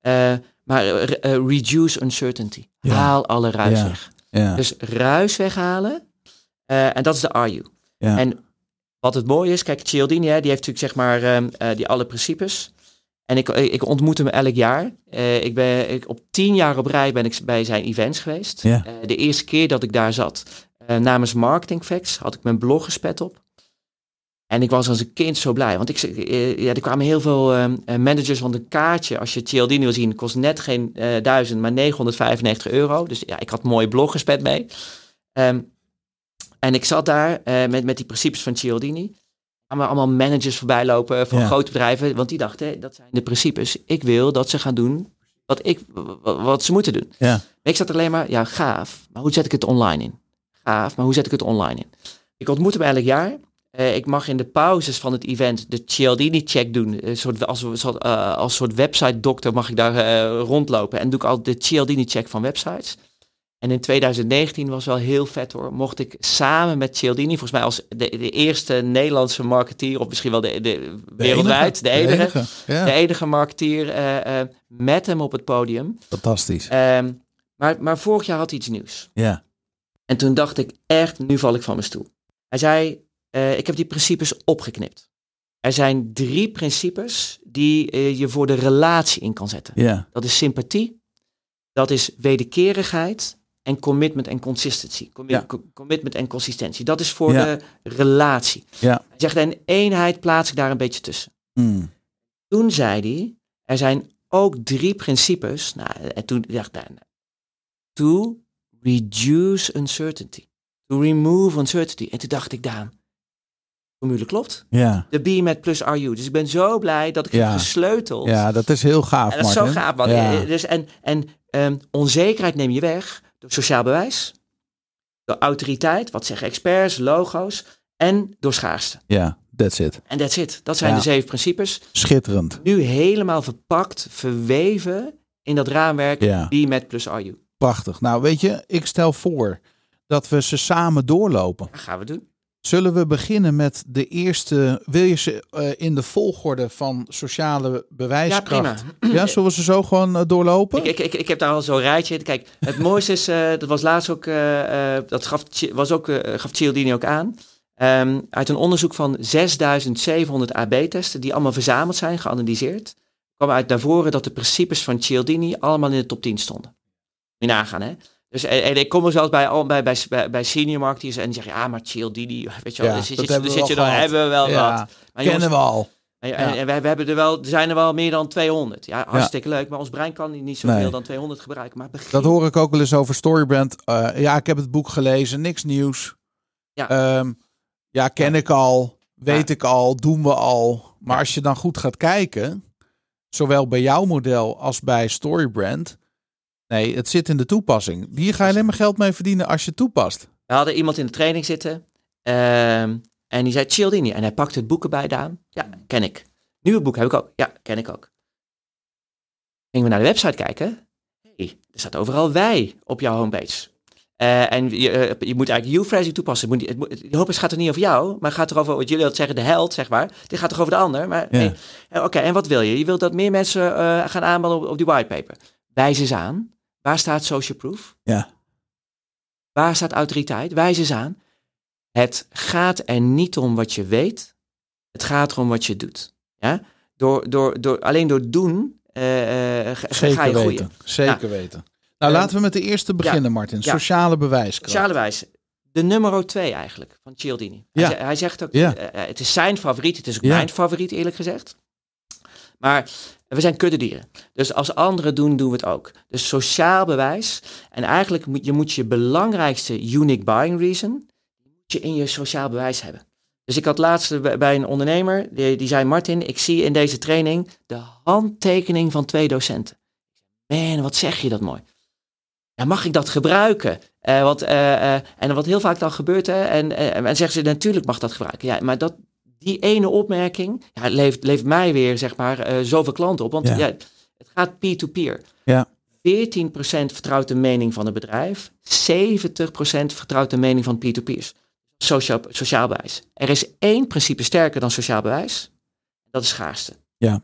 S3: Eh, maar eh, re- eh, reduce uncertainty.
S1: Ja.
S3: Haal alle ruis
S1: Ja.
S3: weg.
S1: Ja.
S3: Dus ruis weghalen. Eh, en dat is de are you.
S1: Ja.
S3: En wat het mooie is, kijk, Cialdini, hè, die heeft natuurlijk zeg maar ehm, eh, die alle principes. En ik, ik ontmoet hem elk jaar. Eh, ik ben, ik, op tien jaar op rij ben ik bij zijn events geweest.
S1: Ja.
S3: Eh, de eerste keer dat ik daar zat, eh, namens Marketing Facts, had ik mijn bloggespet op. En ik was als een kind zo blij. Want ik, zeg, eh, ja, er kwamen heel veel ehm, eh, managers. Want een kaartje, als je Cialdini wil zien, kost net geen eh, 1000, maar 995 euro. Dus ja, ik had een mooie bloggespet mee. Ehm, en ik zat daar eh, met, met die principes van Cialdini. Er kwamen allemaal managers voorbij lopen van
S1: Ja.
S3: grote bedrijven. Want die dachten, hé, dat zijn de principes. Ik wil dat ze gaan doen wat, ik, w- w- wat ze moeten doen.
S1: Ja.
S3: Ik zat alleen maar, ja, gaaf. Maar hoe zet ik het online in? Gaaf, maar hoe zet ik het online in? Ik ontmoet hem elk jaar. Eh, ik mag in de pauzes van het event de Cialdini-check doen. Een soort, als, als, eh, als soort website-dokter mag ik daar eh, rondlopen. En doe ik al de Cialdini-check van websites. En in 2019 was wel heel vet hoor. Mocht ik samen met Cialdini, volgens mij als de, de eerste Nederlandse marketeer, of misschien wel de, de, wereldwijd, de enige, de enige,
S1: Ja.
S3: marketeer, eh, eh, met hem op het podium.
S1: Fantastisch.
S3: Ehm, maar, maar vorig jaar had hij iets nieuws.
S1: Ja.
S3: En toen dacht ik echt, nu val ik van mijn stoel. Hij zei, eh, ik heb die principes opgeknipt. Er zijn drie principes die eh, je voor de relatie in kan zetten.
S1: Ja.
S3: Dat is sympathie, dat is wederkerigheid en commitment en consistency. Commi-
S1: Ja.
S3: co- Commitment en consistentie. Dat is voor
S1: Ja.
S3: de relatie.
S1: Ja.
S3: Hij zegt, en eenheid plaats ik daar een beetje tussen.
S1: Mm.
S3: Toen zei hij, er zijn ook drie principes. Nou, en toen dacht ik, nou, to reduce uncertainty. To remove uncertainty. En toen dacht ik, Daan, de formule klopt.
S1: Ja.
S3: De B met plus RU. Dus ik ben zo blij dat ik
S1: Ja.
S3: heb gesleuteld.
S1: Ja, dat is heel gaaf,
S3: en dat is zo
S1: Martin.
S3: gaaf. man.
S1: Ja.
S3: Eh, Dus en en ehm, onzekerheid neem je weg door sociaal bewijs, door autoriteit, wat zeggen experts, logo's, en door schaarste.
S1: Ja, that's it.
S3: En that's it. Dat zijn
S1: Ja.
S3: de zeven principes
S1: Schitterend.
S3: nu helemaal verpakt, verweven in dat raamwerk
S1: Ja.
S3: die met plus RU.
S1: Prachtig. Nou, weet je, ik stel voor dat we ze samen doorlopen.
S3: Dat gaan we doen.
S1: Zullen we beginnen met de eerste? Wil je ze eh, in de volgorde van sociale
S3: Ja,
S1: bewijskracht?
S3: prima.
S1: Ja, zullen we ze zo gewoon eh, doorlopen?
S3: Ik, ik, ik, ik heb daar al zo'n rijtje. in. Kijk, het mooiste is, eh, dat was laatst ook, eh, eh, dat gaf, Chi- was ook, eh, gaf Cialdini ook aan. Ehm, uit een onderzoek van 6700 AB-testen, die allemaal verzameld zijn, geanalyseerd, kwam uit naar voren dat de principes van Cialdini allemaal in de top 10 stonden. Moet je nagaan, hè? Dus en, en ik kom er zelfs bij, al- bij, bij, bij- bij senior marketeers en die zeggen, ja, maar Cialdini, weet je wel,
S1: Ja,
S3: dan zit,
S1: dat
S3: je-
S1: hebben
S3: dan
S1: we
S3: zit je
S1: wel
S3: dan,
S1: gehad.
S3: hebben we wel
S1: Ja,
S3: wat. Maar Ah, jongens,
S1: kennen we al.
S3: en,
S1: Ja.
S3: en- en we, we hebben er, wel, er zijn er wel meer dan 200. Ja, hartstikke leuk, maar ons brein kan niet zoveel
S1: Nee.
S3: dan 200 gebruiken. Maar begin.
S1: Dat hoor ik ook wel eens over Storybrand. Eh, ja, ik heb het boek gelezen, niks nieuws.
S3: Ja.
S1: Ehm, ja ken ik al, weet
S3: Ja.
S1: ik al, doen we al. Maar als je dan goed gaat kijken, zowel bij jouw model als bij Storybrand. Nee, het zit in de toepassing. Hier ga je alleen maar geld mee verdienen als je het toepast.
S3: We hadden iemand in de training zitten ehm, en die zei Cialdini. En hij pakte het boek erbij, Daan. Ja, ken ik. Nieuwe boek heb ik ook. Ja, ken ik ook. Gingen we naar de website kijken. Hey, er staat overal wij op jouw homepage. Eh, en je, eh, je moet eigenlijk you-phrasing toepassen. Het Moet, het moet, die homepage gaat er niet over jou, maar gaat er over wat jullie dat zeggen, de held, zeg maar. Dit gaat toch over de ander? Maar
S1: Ja.
S3: hey, eh, oké, en wat wil je? Je wilt dat meer mensen eh, gaan aanmelden op, op die whitepaper. Wijs eens aan. Waar staat social proof?
S1: Ja.
S3: Waar staat autoriteit? Wijs eens aan. Het gaat er niet om wat je weet. Het gaat erom wat je doet. Ja? Door, door, door, alleen door doen eh, eh, ga, ga
S1: Zeker
S3: je groeien.
S1: weten. Zeker weten. Nou,
S3: Ehm,
S1: laten we met de eerste beginnen, Martin.
S3: ja.
S1: Sociale bewijskracht.
S3: Sociale wijze. de nummer 2 eigenlijk van Cialdini.
S1: Ja.
S3: Hij, ze- hij zegt ook,
S1: Ja.
S3: eh, eh, het is zijn favoriet, het is ook
S1: Ja.
S3: mijn favoriet eerlijk gezegd. Maar we zijn kuddedieren. Dus als anderen doen, doen we het ook. Dus sociaal bewijs. En eigenlijk moet je moet je belangrijkste unique buying reason moet je in je sociaal bewijs hebben. Dus ik had laatst bij- bij een ondernemer, die, die zei, Martin, ik zie in deze training de handtekening van twee docenten. Man, wat zeg je dat mooi. Ja, mag ik dat gebruiken? Eh, wat, eh, eh, en wat heel vaak dan gebeurt, hè, en, eh, en zeggen ze, natuurlijk mag dat gebruiken. Ja, maar dat, die ene opmerking ja, levert, levert mij weer, zeg maar, eh, zoveel klanten op. Want
S1: Ja.
S3: ja. het gaat peer-to-peer.
S1: Ja.
S3: 14% vertrouwt de mening van het bedrijf. 70% vertrouwt de mening van peer-to-peers. Sociaal, sociaal bewijs. Er is één principe sterker dan sociaal bewijs. Dat is schaarste.
S1: Ja.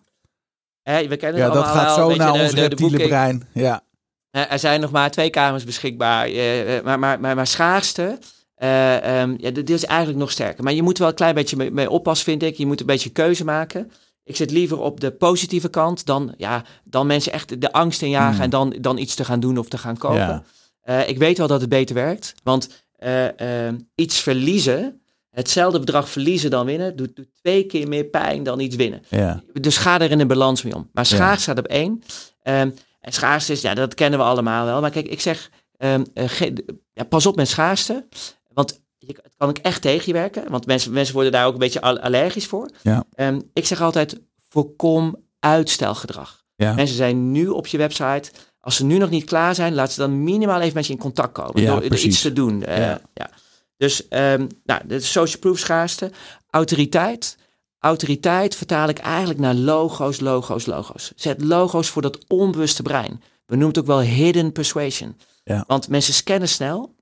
S3: Hè, we kennen
S1: Ja,
S3: het
S1: dat
S3: allemaal
S1: gaat
S3: wel,
S1: zo
S3: weet je,
S1: naar
S3: de-
S1: ons
S3: de- de
S1: reptiele
S3: boeking-
S1: brein. Ja,
S3: eh, Er zijn nog maar twee kamers beschikbaar, eh, eh, maar, maar, maar, maar schaarste. eh, ehm, ja, dit dit is eigenlijk nog sterker. Maar je moet wel een klein beetje mee, mee oppassen, vind ik. Je moet een beetje keuze maken. Ik zit liever op de positieve kant dan, ja, dan mensen echt de angst in jagen
S1: Hmm.
S3: en dan, dan iets te gaan doen of te gaan kopen.
S2: Ja.
S3: Eh, ik weet wel dat het beter werkt, want eh, ehm, iets verliezen, hetzelfde bedrag verliezen dan winnen, doet, doet twee keer meer pijn dan iets winnen.
S1: ja,
S3: Dus ga er in een balans mee om. Maar
S1: Ja.
S3: schaars staat op één. Ehm, en schaarste is, ja, dat kennen we allemaal wel. Maar kijk, ik zeg, ehm, eh, ge- ja, pas op met schaarste. Want je, het kan ook echt tegen je werken. Want mensen, mensen worden daar ook een beetje al- allergisch voor.
S1: Ja.
S3: Ehm, ik zeg altijd, voorkom uitstelgedrag.
S1: Ja.
S3: Mensen zijn nu op je website. Als ze nu nog niet klaar zijn, laat ze dan minimaal even met je in contact komen.
S1: Ja,
S3: door, door
S1: precies.
S3: iets te doen. Eh,
S1: Ja.
S3: ja. Dus ehm nou, de social proof schaarste. Autoriteit. Autoriteit vertaal ik eigenlijk naar logo's, logo's, logo's. Zet logo's voor dat onbewuste brein. We noemen het ook wel hidden persuasion.
S1: Ja.
S3: Want mensen scannen snel.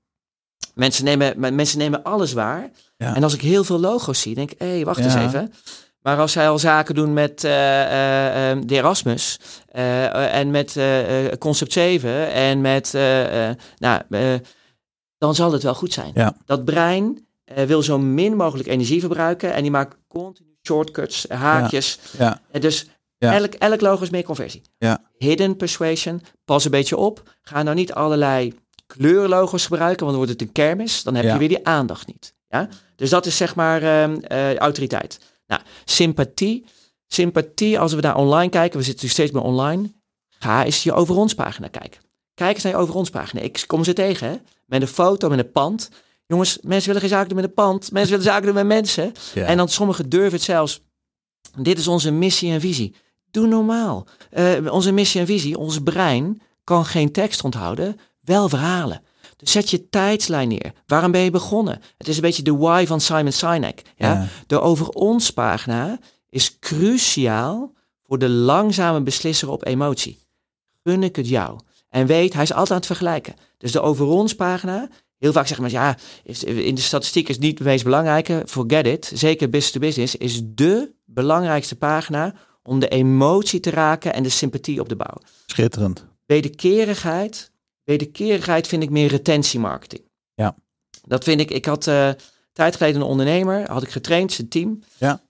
S3: Mensen nemen, men- mensen nemen alles waar.
S1: Ja.
S3: En als ik heel veel logo's zie, denk ik, hé, wacht
S1: Ja.
S3: eens even. Maar als zij al zaken doen met eh, eh, eh, de Erasmus eh, eh, en met eh, eh, Concept 7 en met, eh, eh, nou, eh, dan zal het wel goed zijn.
S1: Ja.
S3: Dat brein eh, wil zo min mogelijk energie verbruiken. En die maakt continu shortcuts, haakjes.
S1: ja,
S3: Eh, dus
S1: Ja.
S3: elk, elk logo is meer conversie.
S1: Ja.
S3: Hidden persuasion, pas een beetje op. Ga nou niet allerlei kleurlogos gebruiken, want dan wordt het een kermis. Dan heb
S1: Ja.
S3: je weer die aandacht niet. Ja? Dus dat is zeg maar ehm, eh, autoriteit. Nou, sympathie. Sympathie, als we naar online kijken, we zitten natuurlijk steeds meer online. Ga eens je over ons pagina kijken. Kijk eens naar je over ons pagina. Ik kom ze tegen, hè? Met een foto, met een pand. Jongens, mensen willen geen zaken doen met een pand. Mensen willen zaken doen met mensen.
S1: Ja.
S3: En dan sommigen durven het zelfs. Dit is onze missie en visie. Doe normaal. Eh, onze missie en visie, ons brein kan geen tekst onthouden, wel verhalen. Dus zet je tijdslijn neer. Waarom ben je begonnen? Het is een beetje de why van Simon Sinek. Ja?
S1: Ja.
S3: De over ons pagina is cruciaal voor de langzame beslisser op emotie. Gun ik het jou? En weet, hij is altijd aan het vergelijken. Dus de over ons pagina, heel vaak zeggen mensen, ja, is, in de statistiek is het niet het meest belangrijke. Forget it. Zeker business to business is de belangrijkste pagina om de emotie te raken en de sympathie op te bouwen.
S1: schitterend.
S3: Wederkerigheid. Wederkerigheid vind ik meer retentiemarketing.
S1: Ja.
S3: Dat vind ik. Ik had eh, een tijd geleden een ondernemer, had ik getraind, zijn team.
S1: Ja.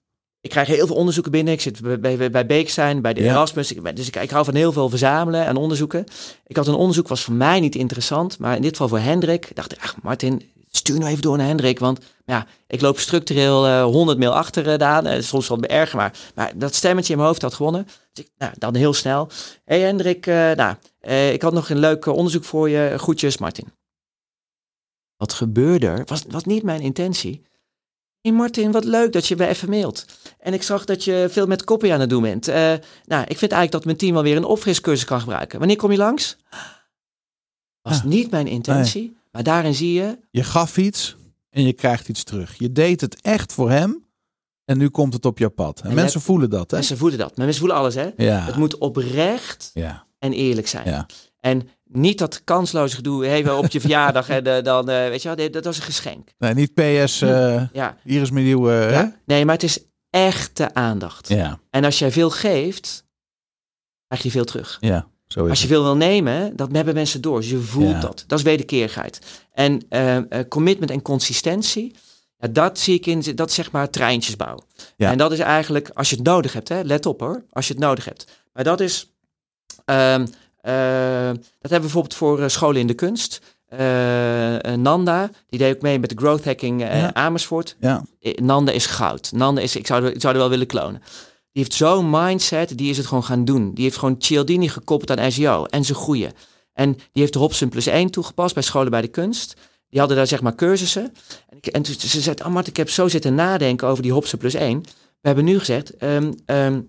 S3: Ik krijg heel veel onderzoeken binnen. Ik zit bij, bij, bij Beekstein, bij de
S1: Ja.
S3: Erasmus. Ik ben- dus ik, ik hou van heel veel verzamelen en onderzoeken. Ik had een onderzoek, was voor mij niet interessant. Maar in dit geval voor Hendrik. Ik Dacht ik, ach Martin, stuur nou even door naar Hendrik. Want ja, ik loop structureel eh, 100 mail achter eh, Daan. Eh, soms wat erger, maar, maar dat stemmetje in mijn hoofd had gewonnen. Dus ik, nou, dan heel snel. Hé hey Hendrik, eh, nou, eh, ik had nog een leuk eh, onderzoek voor je. Groetjes, Martin. Wat gebeurde er? Was, was niet mijn intentie. Hey Martin, wat leuk dat je weer even mailt. En ik zag dat je veel met copy aan het doen bent. Eh, nou, ik vind eigenlijk dat mijn team wel weer een opfriscursus kan gebruiken. Wanneer kom je langs? Was
S1: Ah,
S3: niet mijn intentie, maar daarin zie je
S1: Je gaf iets en je krijgt iets terug. Je deed het echt voor hem en nu komt het op jouw pad. En,
S3: En
S1: mensen
S3: dat-
S1: voelen dat, hè?
S3: Mensen voelen dat. Maar mensen voelen alles, hè? Het
S1: Ja,
S3: moet oprecht
S1: ja,
S3: en eerlijk zijn.
S1: Ja.
S3: En niet dat kansloos gedoe, even op je verjaardag en eh, dan, eh, weet je wel, nee, dat was een geschenk.
S1: nee, niet PS, eh,
S3: Ja.
S1: hier is mijn nieuwe... eh,
S3: ja. Nee, maar het is echte aandacht.
S1: Ja,
S3: En als jij veel geeft, krijg je veel terug.
S1: ja, zo is
S3: Als
S1: het.
S3: je veel wil nemen, dat hebben mensen door. Dus je voelt
S1: Ja.
S3: dat. Dat is wederkerigheid. En eh, eh, commitment en consistentie, ja, dat zie ik in, dat is zeg maar treintjes bouwen.
S1: Ja.
S3: En dat is eigenlijk, als je het nodig hebt, hè, let op hoor, als je het nodig hebt. Maar dat is, ehm, ehm, dat hebben we bijvoorbeeld voor eh, scholen in de kunst. Eh, eh, eh, Nanda, die deed ook mee met de growth hacking eh,
S1: Ja.
S3: Amersfoort.
S1: Ja,
S3: Eh, Nanda is goud. Nanda is, ik zou, er- ik zou er wel willen klonen. Die heeft zo'n mindset, die is het gewoon gaan doen. Die heeft gewoon Cialdini gekoppeld aan SEO en zijn goeie. En die heeft de Hobson plus 1 toegepast bij scholen bij de kunst. Die hadden daar zeg maar cursussen. En, ik, en toen, ze zei, oh Mart, ik heb zo zitten nadenken over die Hobson plus 1. We hebben nu gezegd, ehm, ehm,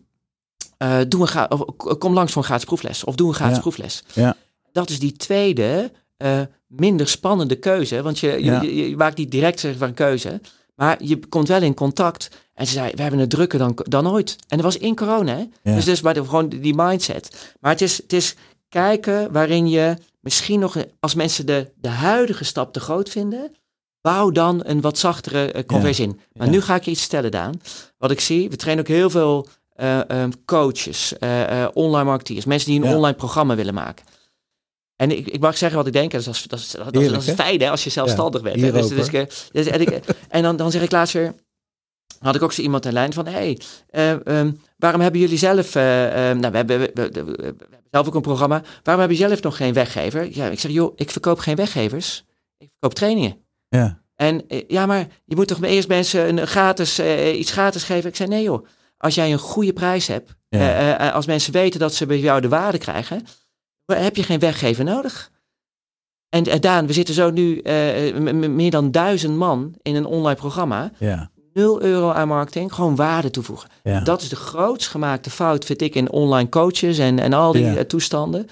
S3: eh, doe een gra- of, k- kom langs voor een gratis proefles. Of doe een gratis
S1: Ja.
S3: proefles.
S1: Ja.
S3: Dat is die tweede, eh, minder spannende keuze. Want je, je-
S1: Ja.
S3: je, je maakt niet direct zeg maar, een keuze. Maar je komt wel in contact. En ze zei, we hebben het drukker dan, dan ooit. En dat was in corona. Hè?
S1: Ja.
S3: Dus, dus maar de- gewoon die mindset. Maar het is, het is kijken waarin je misschien nog, eh, als mensen de, de huidige stap te groot vinden, bouw dan een wat zachtere eh, conversie in. Maar
S1: Ja.
S3: nu ga ik je iets stellen, Daan. Wat ik zie, we trainen ook heel veel eh, eh, coaches, eh, eh, online marketeers, mensen die een
S1: Ja.
S3: online programma willen maken. En ik, ik mag zeggen wat ik denk, en dat is, dat is, dat is, dat
S1: Heerlijk,
S3: is
S1: hè?
S3: fijn hè, als je zelfstandig bent. hè.
S1: hier
S3: Dus,
S1: ook,
S3: dus, ik, eh, dus- en ik- en dan, dan zeg ik laatst weer, had ik ook zo iemand aan de lijn van, hé, hey, eh, ehm, waarom hebben jullie zelf, eh, ehm, nou, we hebben, we, we- we- we hebben zelf ook een programma, waarom hebben jullie zelf nog geen weggever? Ja, ik zeg, joh, ik verkoop geen weggevers, ik verkoop trainingen.
S1: ja,
S3: En eh, ja, maar je moet toch eerst mensen een gratis, eh, iets gratis geven? Ik zei, nee joh, als jij een goede prijs hebt,
S1: Ja.
S3: eh, eh, eh, als mensen weten dat ze bij jou de waarde krijgen, dan heb je geen weggever nodig. En eh, Daan, we zitten zo nu eh, m- m- meer dan duizend man in een online programma.
S1: ja.
S3: 0 euro aan marketing, gewoon waarde toevoegen.
S1: ja.
S3: Dat is de grootst gemaakte fout, vind ik, in online coaches en, en al die
S1: Ja.
S3: eh, toestanden.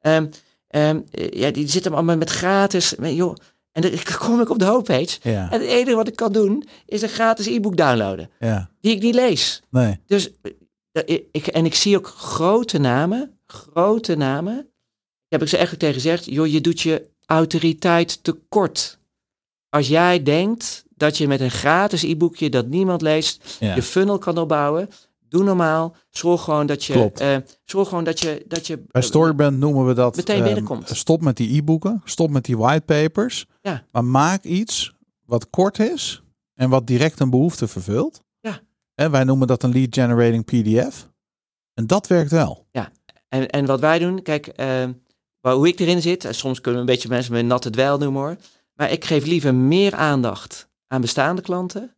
S3: Ehm, ehm, eh, ja, die zitten allemaal met gratis. Met, joh, en dan kom ik op de homepage.
S1: ja.
S3: En het enige wat ik kan doen, is een gratis e-book downloaden.
S1: ja.
S3: Die ik niet lees.
S1: Nee.
S3: Dus, eh, ik, en ik zie ook grote namen, grote namen. Daar heb ik ze echt ook tegen gezegd. Joh, je doet je autoriteit tekort. Als jij denkt dat je met een gratis e-boekje dat niemand leest,
S1: Ja.
S3: je funnel kan opbouwen. Doe normaal. Zorg gewoon dat je.
S1: Klopt.
S3: eh, zorg gewoon dat je. Dat je
S1: Bij Storyband noemen we dat.
S3: Meteen
S1: ehm,
S3: binnenkomt.
S1: Stop met die e-boeken, stop met die whitepapers.
S3: Ja.
S1: Maar maak iets wat kort is en wat direct een behoefte vervult.
S3: Ja.
S1: En wij noemen dat een lead generating PDF. En dat werkt wel.
S3: En, en wat wij doen, kijk, eh, waar, hoe ik erin zit, en soms kunnen we een beetje mensen met natte dweil noemen hoor. Maar ik geef liever meer aandacht aan bestaande klanten.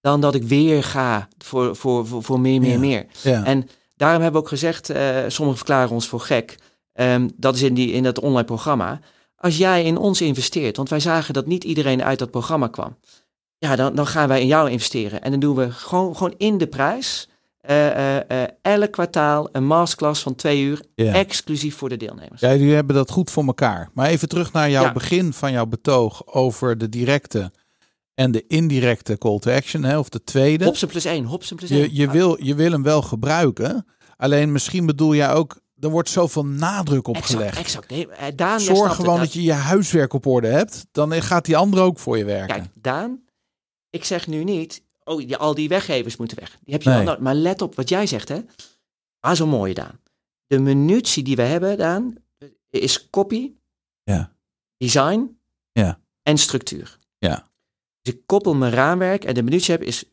S3: Dan dat ik weer ga voor, voor, voor, voor meer, meer,
S1: Ja.
S3: meer.
S1: Ja.
S3: En daarom hebben we ook gezegd, eh, sommigen verklaren ons voor gek. Ehm, dat is in, die, in dat online programma. Als jij in ons investeert, want wij zagen dat niet iedereen uit dat programma kwam. Ja, dan, dan gaan wij in jou investeren. En dan doen we gewoon, gewoon in de prijs. eh, eh, eh, elk kwartaal een masterclass van twee uur.
S1: Ja.
S3: Exclusief voor de deelnemers.
S1: Ja, jullie hebben dat goed voor elkaar. Maar even terug naar jouw
S3: Ja.
S1: begin van jouw betoog over de directe en de indirecte call to action, hè, of de tweede.
S3: Hopsen plus één, Hopsen plus één. Ah,
S1: Je, je, wil, je wil hem wel gebruiken. Alleen misschien bedoel jij ook, er wordt zoveel nadruk op
S3: Exact,
S1: gelegd.
S3: exact. Nee, eh, Daan, jij snapt
S1: Zorg
S3: het.
S1: gewoon
S3: Daan-
S1: dat je je huiswerk op orde hebt. Dan gaat die ander ook voor je werken.
S3: Kijk, Daan, ik zeg nu niet, oh, die, al die weggevers moeten weg. Die heb je
S1: Nee.
S3: wel nodig. Maar let op wat jij zegt, hè. Ah, zo mooi, Daan. De munitie die we hebben, Daan, is copy,
S1: Ja.
S3: design
S1: Ja.
S3: en structuur.
S1: Ja.
S3: Dus ik koppel mijn raamwerk en de munitie heb is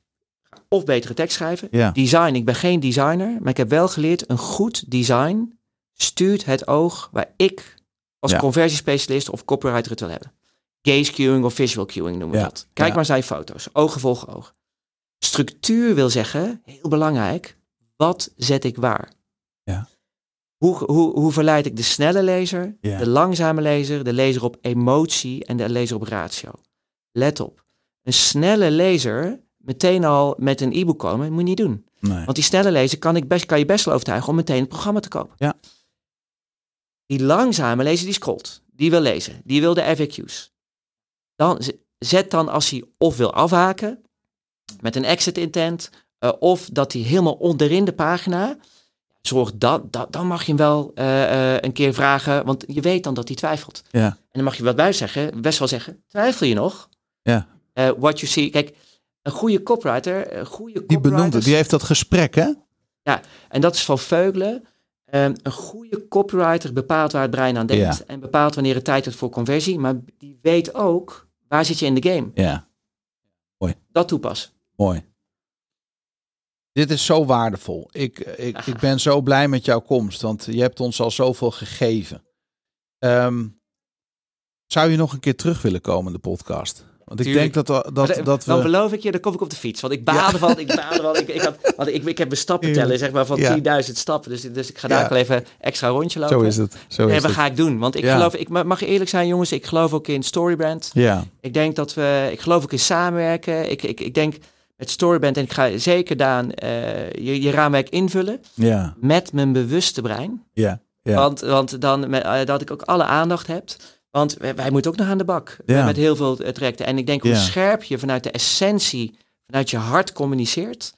S3: of betere tekst schrijven.
S1: Ja.
S3: Design, ik ben geen designer, maar ik heb wel geleerd, een goed design stuurt het oog waar ik als
S1: Ja.
S3: conversiespecialist of copywriter het wil hebben. Gaze queuing of visual queuing noemen we
S1: Ja,
S3: dat. Kijk
S1: ja.
S3: maar eens naar je foto's. Ogen volgen oog. Structuur wil zeggen, heel belangrijk, wat zet ik waar?
S1: Ja.
S3: Hoe, hoe, hoe verleid ik de snelle lezer,
S1: Ja.
S3: de langzame lezer, de lezer op emotie en de lezer op ratio? Let op. Een snelle lezer meteen al met een e-book komen, moet je niet doen.
S1: Nee.
S3: Want die snelle lezer kan, ik best, kan je best wel overtuigen om meteen het programma te kopen.
S1: Ja.
S3: Die langzame lezer die scrolt, die wil lezen, die wil de FAQ's. Dan z- zet dan als hij of wil afhaken met een exit intent, eh, of dat hij helemaal onderin de pagina, zorg dat, dat dan mag je hem wel eh, eh, een keer vragen, want je weet dan dat hij twijfelt.
S1: Ja.
S3: En dan mag je wat bij zeggen, best wel zeggen, twijfel je nog?
S1: Ja.
S3: Eh, what you see, kijk, een goede copywriter, een goede
S1: Die benoemde, die heeft dat gesprek, hè?
S3: en dat is van Veugelen. Ehm, een goede copywriter bepaalt waar het brein aan denkt. En bepaalt wanneer het tijd is voor conversie. Maar die weet ook waar zit je in de game.
S1: Ja,
S3: Dat toepassen.
S1: mooi. Dit is zo waardevol. Ik, ik, ik ben zo blij met jouw komst, want je hebt ons al zoveel gegeven. Ehm, Zou je nog een keer terug willen komen in de podcast? Want ik
S3: Tuurlijk.
S1: denk dat, we- dat,
S3: Maar
S1: dat
S3: dan
S1: we...
S3: beloof ik je, dan kom ik op de fiets. Want ik baal ervan, ik baal ervan. Ik, ik, had, want ik, ik heb mijn stappen tellen, zeg maar, van
S1: Ja.
S3: 10.000 stappen. Dus, dus ik ga
S1: Ja.
S3: daar ook wel even extra rondje lopen.
S1: Zo is het. Zo
S3: Nee,
S1: is
S3: wat
S1: het.
S3: ga ik doen? Want ik
S1: Ja.
S3: geloof, ik ma- mag eerlijk zijn jongens, ik geloof ook in Storybrand.
S1: Ja,
S3: Ik denk dat we, ik geloof ook in samenwerken. Ik, ik, ik denk met Storybrand, en ik ga zeker Daan eh, je, je raamwerk invullen
S1: ja,
S3: met mijn bewuste brein.
S1: ja. Ja.
S3: Want, want dan met, eh, dat ik ook alle aandacht heb. Want wij, wij moeten ook nog aan de bak.
S1: Ja.
S3: Met heel veel eh, trajecten. En ik denk hoe
S1: Ja.
S3: scherp je vanuit de essentie, vanuit je hart communiceert,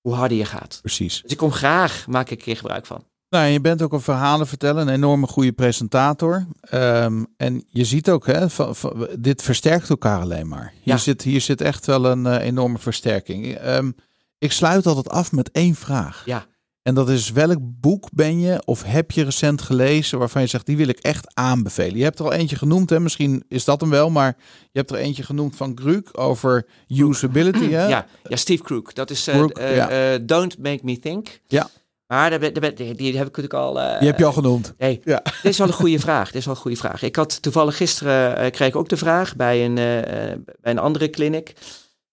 S3: hoe harder je gaat.
S1: Precies.
S3: Dus ik kom graag, maak ik een keer gebruik van.
S1: Nou, en je bent ook een verhalen vertellen, een enorme goede presentator. Ehm, en je ziet ook, hè, van, van- dit versterkt elkaar alleen maar. Hier,
S3: Ja.
S1: zit, hier zit echt wel een eh, enorme versterking. Ehm, ik sluit altijd af met één vraag.
S3: Ja.
S1: En dat is, welk boek ben je of heb je recent gelezen waarvan je zegt, die wil ik echt aanbevelen? Je hebt er al eentje genoemd, hè? misschien is dat hem wel, maar je hebt er eentje genoemd van Gruuk over usability. Hè?
S3: Ja, ja Steve Crook. Dat is eh,
S1: Crook,
S3: eh,
S1: ja.
S3: eh, Don't Make Me Think.
S1: Ja.
S3: Maar daar ben, daar ben- die, die heb ik natuurlijk al... eh,
S1: Die heb je al genoemd.
S3: Nee,
S1: Ja.
S3: dit is wel een goede vraag. Dit is wel een goede vraag. Ik had toevallig gisteren eh, kreeg ik ook de vraag bij een, eh, eh, bij een andere kliniek.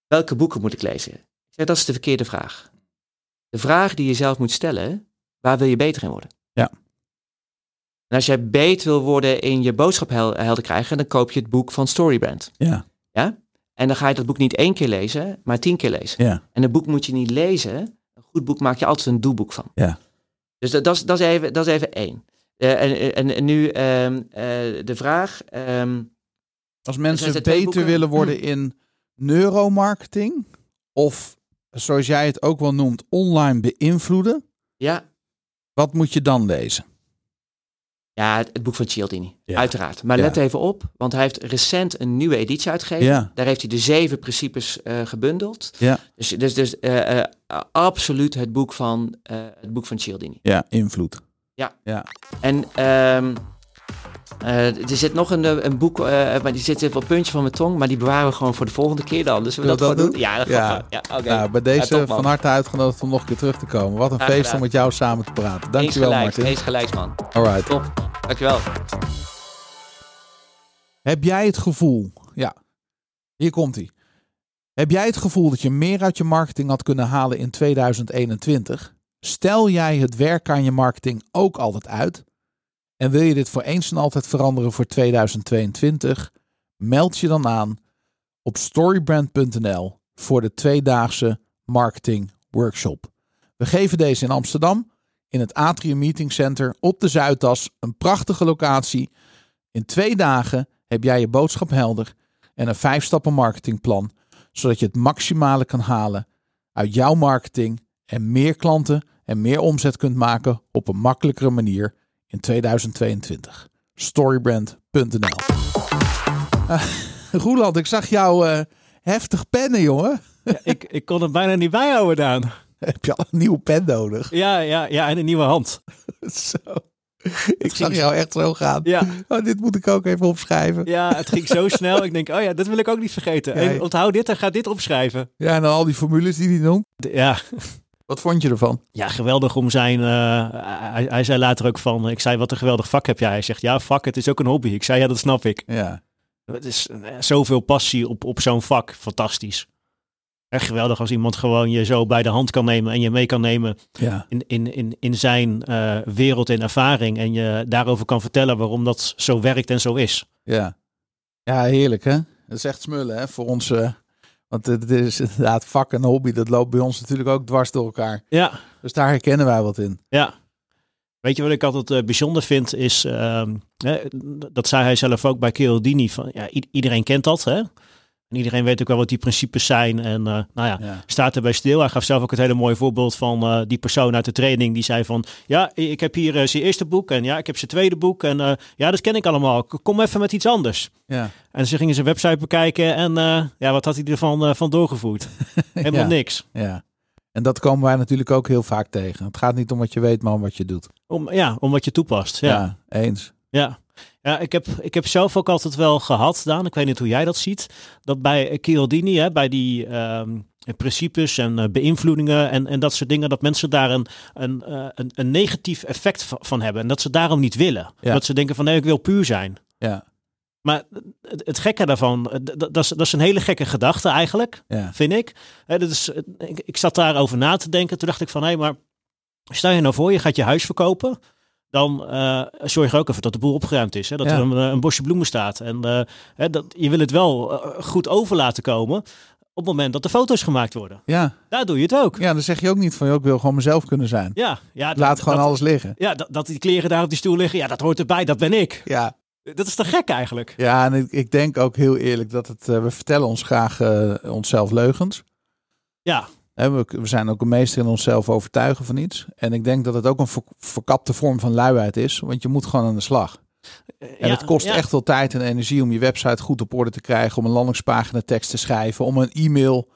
S3: Welke boeken moet ik lezen? Ik zei, dat is de verkeerde vraag. De vraag die je zelf moet stellen, waar wil je beter in worden?
S1: Ja.
S3: En als jij beter wil worden in je boodschap hel- helder krijgen, dan koop je het boek van Storybrand.
S1: Ja,
S3: En dan ga je dat boek niet één keer lezen, maar tien keer lezen.
S1: ja,
S3: En een boek moet je niet lezen. Een goed boek maak je altijd een doelboek van.
S1: Ja.
S3: Dus dat, dat, is, dat, is, even, dat is even één. Eh, en, en, en nu ehm, eh, de vraag. ehm,
S1: Als
S3: er
S1: mensen
S3: twee
S1: beter
S3: boeken?
S1: willen worden in neuromarketing of zoals jij het ook wel noemt, online beïnvloeden,
S3: ja,
S1: wat moet je dan lezen?
S3: ja, het, het boek van Cialdini.
S1: Ja.
S3: Uiteraard. Maar
S1: Ja.
S3: let even op, want hij heeft recent een nieuwe editie uitgegeven.
S1: Ja.
S3: Daar heeft hij de zeven principes eh, gebundeld.
S1: Ja.
S3: Dus, dus, dus eh, eh, absoluut het boek van, eh, het boek van Cialdini.
S1: Ja, invloed.
S3: En ehm, eh, er zit nog een, eh, een boek, eh, maar die zit even op het puntje van mijn tong, maar die bewaren we gewoon voor de volgende keer dan. Dus we
S1: Wil
S3: dat,
S1: dat
S3: gewoon doen?
S1: doen?
S3: Ja, dat
S1: Ja.
S3: gaat gewoon. Ja, oké.
S1: Nou, bij deze
S3: Ja, top, man.
S1: van harte uitgenodigd om nog een keer terug te komen. Wat een
S3: Graag
S1: feest
S3: gedaan.
S1: om met jou samen te praten.
S3: Eens
S1: Dankjewel
S3: gelijks,
S1: Martin.
S3: eens gelijks man.
S1: Alright.
S3: Top. Dankjewel.
S1: Heb jij het gevoel, ja, hier komt hij. Heb jij het gevoel dat je meer uit je marketing had kunnen halen in 2021? Stel jij het werk aan je marketing ook altijd uit? En wil je dit voor eens en altijd veranderen voor 2022? Meld je dan aan op storybrand.nl voor de tweedaagse marketing workshop. We geven deze in Amsterdam in het Atrium Meeting Center op de Zuidas, een prachtige locatie. In twee dagen heb jij je boodschap helder en een vijf stappen marketingplan, zodat je het maximale kan halen uit jouw marketing en meer klanten en meer omzet kunt maken op een makkelijkere manier in 2022. Storybrand.nl Ah, Roeland, ik zag jou eh, heftig pennen, jongen.
S2: Ja, ik, ik kon het bijna niet bijhouden, Daan.
S1: Heb je al een nieuwe pen nodig?
S2: Ja, ja, ja, en een nieuwe hand.
S1: Zo. Ik zag jou echt zo gaan.
S2: Ja.
S1: Oh, dit moet ik ook even opschrijven.
S2: Ja, het ging zo snel. Ik denk, oh ja, dat wil ik ook niet vergeten.
S1: Ja,
S2: En onthoud dit en ga dit opschrijven.
S1: Ja, en dan al die formules die hij noemt.
S2: D- Ja,
S1: Wat vond je ervan?
S2: ja geweldig om zijn... eh, hij, hij zei later ook van, ik zei, wat een geweldig vak heb jij. Hij zegt, ja, vak, het is ook een hobby. Ik zei, ja, dat snap ik.
S1: Ja,
S2: Het is eh, zoveel passie op, op zo'n vak. Fantastisch. Echt geweldig als iemand gewoon je zo bij de hand kan nemen en je mee kan nemen
S1: ja,
S2: in, in, in, in zijn eh, wereld en ervaring. En je daarover kan vertellen waarom dat zo werkt en zo is.
S1: ja. Ja, heerlijk hè? Dat is echt smullen hè, voor ons. eh, want het is inderdaad vak en hobby. Dat loopt bij ons natuurlijk ook dwars door elkaar.
S2: Ja,
S1: Dus daar herkennen wij wat in.
S2: Ja. Weet je wat ik altijd eh, bijzonder vind is, ehm, hè, dat zei hij zelf ook bij Chialdini, van ja, i- iedereen kent dat hè. En iedereen weet ook wel wat die principes zijn en eh, nou ja,
S1: Ja,
S2: staat erbij stil. Hij gaf zelf ook het hele mooie voorbeeld van eh, die persoon uit de training die zei van, ja, i- ik heb hier eh, zijn eerste boek en ja, ik heb zijn tweede boek en eh, ja, dat ken ik allemaal. K- Kom even met iets anders.
S1: ja.
S2: En ze gingen zijn website bekijken en eh, ja, wat had hij ervan eh, van doorgevoerd? Helemaal
S1: ja,
S2: niks.
S1: Ja. En dat komen wij natuurlijk ook heel vaak tegen. Het gaat niet om wat je weet, maar om wat je doet.
S2: Om, ja, om wat je toepast. ja.
S1: eens.
S2: Ja. Ja, ik heb, ik heb zelf ook altijd wel gehad, Daan, ik weet niet hoe jij dat ziet, dat bij Chialdini, hè, bij die ehm, principes en eh, beïnvloedingen en, en dat soort dingen, dat mensen daar een, een, eh, een, een negatief effect va- van hebben en dat ze daarom niet willen.
S1: Ja.
S2: Dat ze denken van nee, ik wil puur zijn.
S1: Ja.
S2: Maar het, het gekke daarvan, eh, d- d- dat is, dat is een hele gekke gedachte eigenlijk,
S1: Ja.
S2: vind ik. Hè, dat is, eh, ik. Ik zat daarover na te denken. Toen dacht ik van, hé, maar stel je nou voor, je gaat je huis verkopen. Dan eh, zorg je er ook even dat de boel opgeruimd is. Hè? Dat
S1: Ja.
S2: er een, eh, een bosje bloemen staat. En eh, hè, dat, je wil het wel eh, goed over laten komen op het moment dat de foto's gemaakt worden.
S1: Ja.
S2: Daar doe je het ook.
S1: ja, dan zeg je ook niet van, joh, ik wil gewoon mezelf kunnen zijn.
S2: Ja, ja, dat-
S1: Laat gewoon
S2: dat-
S1: alles liggen.
S2: Ja, dat, dat die kleren daar op die stoel liggen, ja, dat hoort erbij, dat ben ik.
S1: Ja,
S2: Dat is te gek eigenlijk.
S1: Ja, en ik, ik denk ook heel eerlijk dat het. eh, we vertellen ons graag eh, onszelf leugens.
S2: Ja,
S1: Hè, we, we zijn ook een meester in onszelf overtuigen van iets. En ik denk dat het ook een ver- verkapte vorm van luiheid is. Want je moet gewoon aan de slag. En
S2: ja,
S1: het kost
S2: ja.
S1: echt wel tijd en energie om je website goed op orde te krijgen. Om een landingspagina tekst te schrijven. Om een e-mail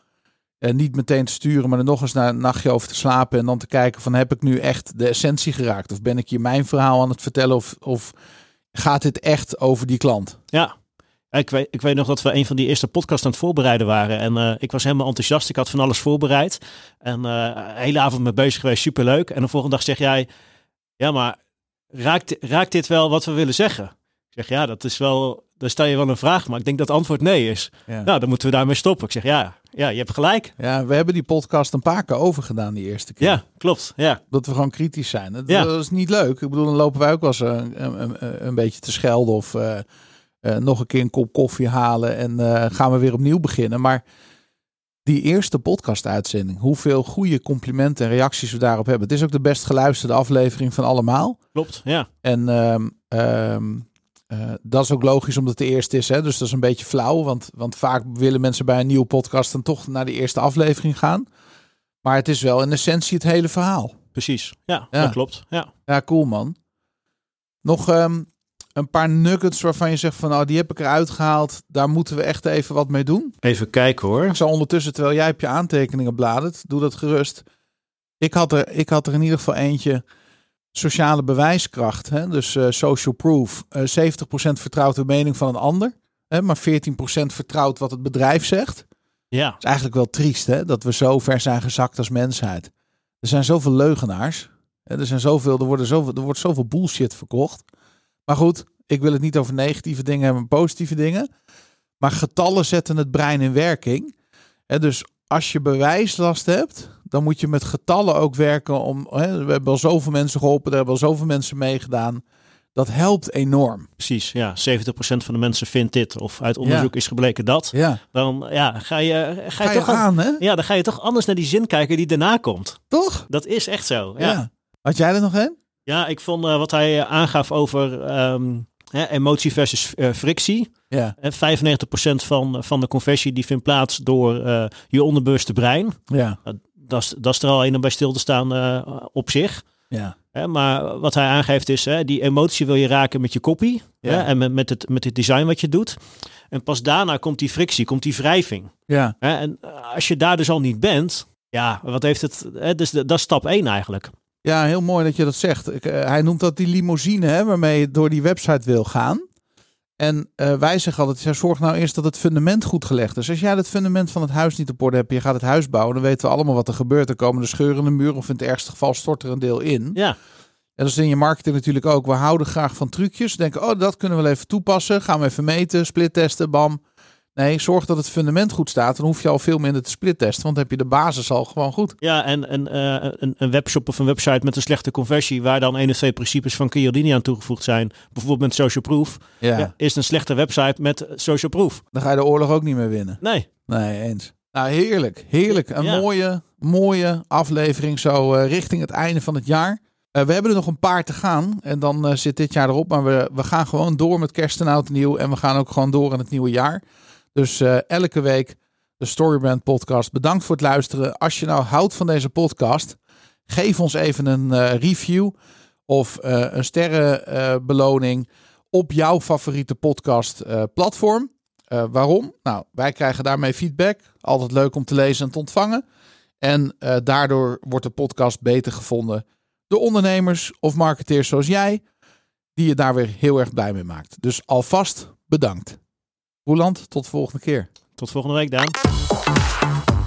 S1: eh, niet meteen te sturen. Maar er nog eens na een nachtje over te slapen. En dan te kijken van heb ik nu echt de essentie geraakt? Of ben ik hier mijn verhaal aan het vertellen? Of, of gaat dit echt over die klant?
S2: Ja. Ik weet, ik weet nog dat we een van die eerste podcasts aan het voorbereiden waren. En eh, ik was helemaal enthousiast. Ik had van alles voorbereid. En eh de hele avond mee bezig geweest. Superleuk. En de volgende dag zeg jij... Ja, maar raakt, raakt dit wel wat we willen zeggen? Ik zeg, ja, dat is wel... Daar stel je wel een vraag, maar ik denk dat het antwoord nee is.
S1: Ja.
S2: Nou, dan moeten we daarmee stoppen. Ik zeg, ja, ja je hebt gelijk.
S1: Ja, we hebben die podcast een paar keer overgedaan die eerste keer.
S2: Ja, klopt. Ja,
S1: Dat we gewoon kritisch zijn. Dat,
S2: Ja.
S1: dat is niet leuk. Ik bedoel, dan lopen wij ook wel eens eh, een, een, een beetje te schelden of eh, eh, nog een keer een kop koffie halen en eh, gaan we weer opnieuw beginnen. Maar die eerste podcast-uitzending, hoeveel goede complimenten en reacties we daarop hebben. Het is ook de best geluisterde aflevering van allemaal.
S2: klopt. Ja,
S1: En ehm, ehm, eh, dat is ook logisch omdat het de eerste is. Hè? Dus dat is een beetje flauw. Want, want vaak willen mensen bij een nieuwe podcast dan toch naar de eerste aflevering gaan. Maar het is wel in essentie het hele verhaal.
S2: precies. Ja,
S1: Ja.
S2: dat klopt. Ja.
S1: Ja, cool man. Nog ehm, een paar nuggets waarvan je zegt van nou die heb ik eruit gehaald. Daar moeten we echt even wat mee doen.
S2: Even kijken hoor.
S1: Ik zal ondertussen, terwijl jij op je aantekeningen bladert, doe dat gerust. Ik had er, ik had er in ieder geval eentje. Sociale bewijskracht, hè? dus eh, social proof. Eh, 70% vertrouwt de mening van een ander, hè? maar 14% vertrouwt wat het bedrijf zegt. Het
S2: Ja,
S1: is eigenlijk wel triest hè? dat we zo ver zijn gezakt als mensheid. Er zijn zoveel leugenaars. Hè? Er, zijn zoveel, er, worden zoveel, er wordt zoveel bullshit verkocht. Maar goed, ik wil het niet over negatieve dingen hebben, maar positieve dingen. Maar getallen zetten het brein in werking. Hè, dus als je bewijslast hebt, dan moet je met getallen ook werken. Om, hè, we hebben al zoveel mensen geholpen, er hebben al zoveel mensen meegedaan. Dat helpt enorm.
S2: precies. Ja, 70% van de mensen vindt dit. Of uit onderzoek is gebleken dat.
S1: Ja.
S2: Dan ja, ga, je, ga, je
S1: Ga je
S2: toch an-
S1: aan, hè?
S2: Ja, dan ga je toch anders naar die zin kijken die daarna komt.
S1: Toch?
S2: Dat is echt zo. Ja, ja.
S1: Had jij er nog een?
S2: ik vond eh, wat hij eh, aangaf over ehm, hè, emotie versus eh, frictie.
S1: Ja.
S2: Eh, 95% van, eh, van de conversie die vindt plaats door eh, je onderbewuste brein.
S1: Ja.
S2: Dat is- dat is er al een om bij stil te staan eh, op zich.
S1: Ja.
S2: Hè, maar wat hij aangeeft is, hè, die emotie wil je raken met je kopie
S1: Ja.
S2: hè, en met, met, het, met het design wat je doet. En pas daarna komt die frictie, komt die wrijving.
S1: Ja.
S2: Hè, en eh, als je daar dus al niet bent, ja, wat heeft het? Hè, dus dat dat is stap 1 eigenlijk.
S1: Ja, heel mooi dat je dat zegt. Ik, eh, hij noemt dat die limousine hè, waarmee je door die website wil gaan. En eh, wij zeggen altijd, ja, zorg nou eerst dat het fundament goed gelegd is. Als jij het fundament van het huis niet op orde hebt, je gaat het huis bouwen, dan weten we allemaal wat er gebeurt. Er komen de scheuren in de muur of in het ergste geval stort er een deel in.
S2: Ja,
S1: En dat is in je marketing natuurlijk ook. We houden graag van trucjes. Denken, oh, dat kunnen we wel even toepassen. Gaan we even meten, splittesten, bam. Nee, zorg dat het fundament goed staat. Dan hoef je al veel minder te splittesten, want dan heb je de basis al gewoon goed.
S2: ja en, en eh, een, een webshop of een website met een slechte conversie, waar dan één of twee principes van Chiodini aan toegevoegd zijn, bijvoorbeeld met social proof, ja, is een slechte website met social proof.
S1: Dan ga je de oorlog ook niet meer winnen.
S2: Nee,
S1: Nee, eens. Nou, heerlijk. Heerlijk. Een
S2: Ja.
S1: mooie, mooie aflevering zo eh, richting het einde van het jaar. Eh, we hebben er nog een paar te gaan en dan eh, zit dit jaar erop. Maar we, we gaan gewoon door met kerst en oud en nieuw. En we gaan ook gewoon door aan het nieuwe jaar. Dus eh, elke week de Storybrand podcast. Bedankt voor het luisteren. Als je nou houdt van deze podcast, geef ons even een eh, review of eh, een sterrenbeloning op jouw favoriete podcast eh, platform. Eh, waarom? Nou, wij krijgen daarmee feedback. Altijd leuk om te lezen en te ontvangen. En eh, daardoor wordt de podcast beter gevonden door ondernemers of marketeers zoals jij, die je daar weer heel erg blij mee maakt. Dus alvast bedankt. Roeland, tot de volgende keer.
S2: tot volgende week Daan.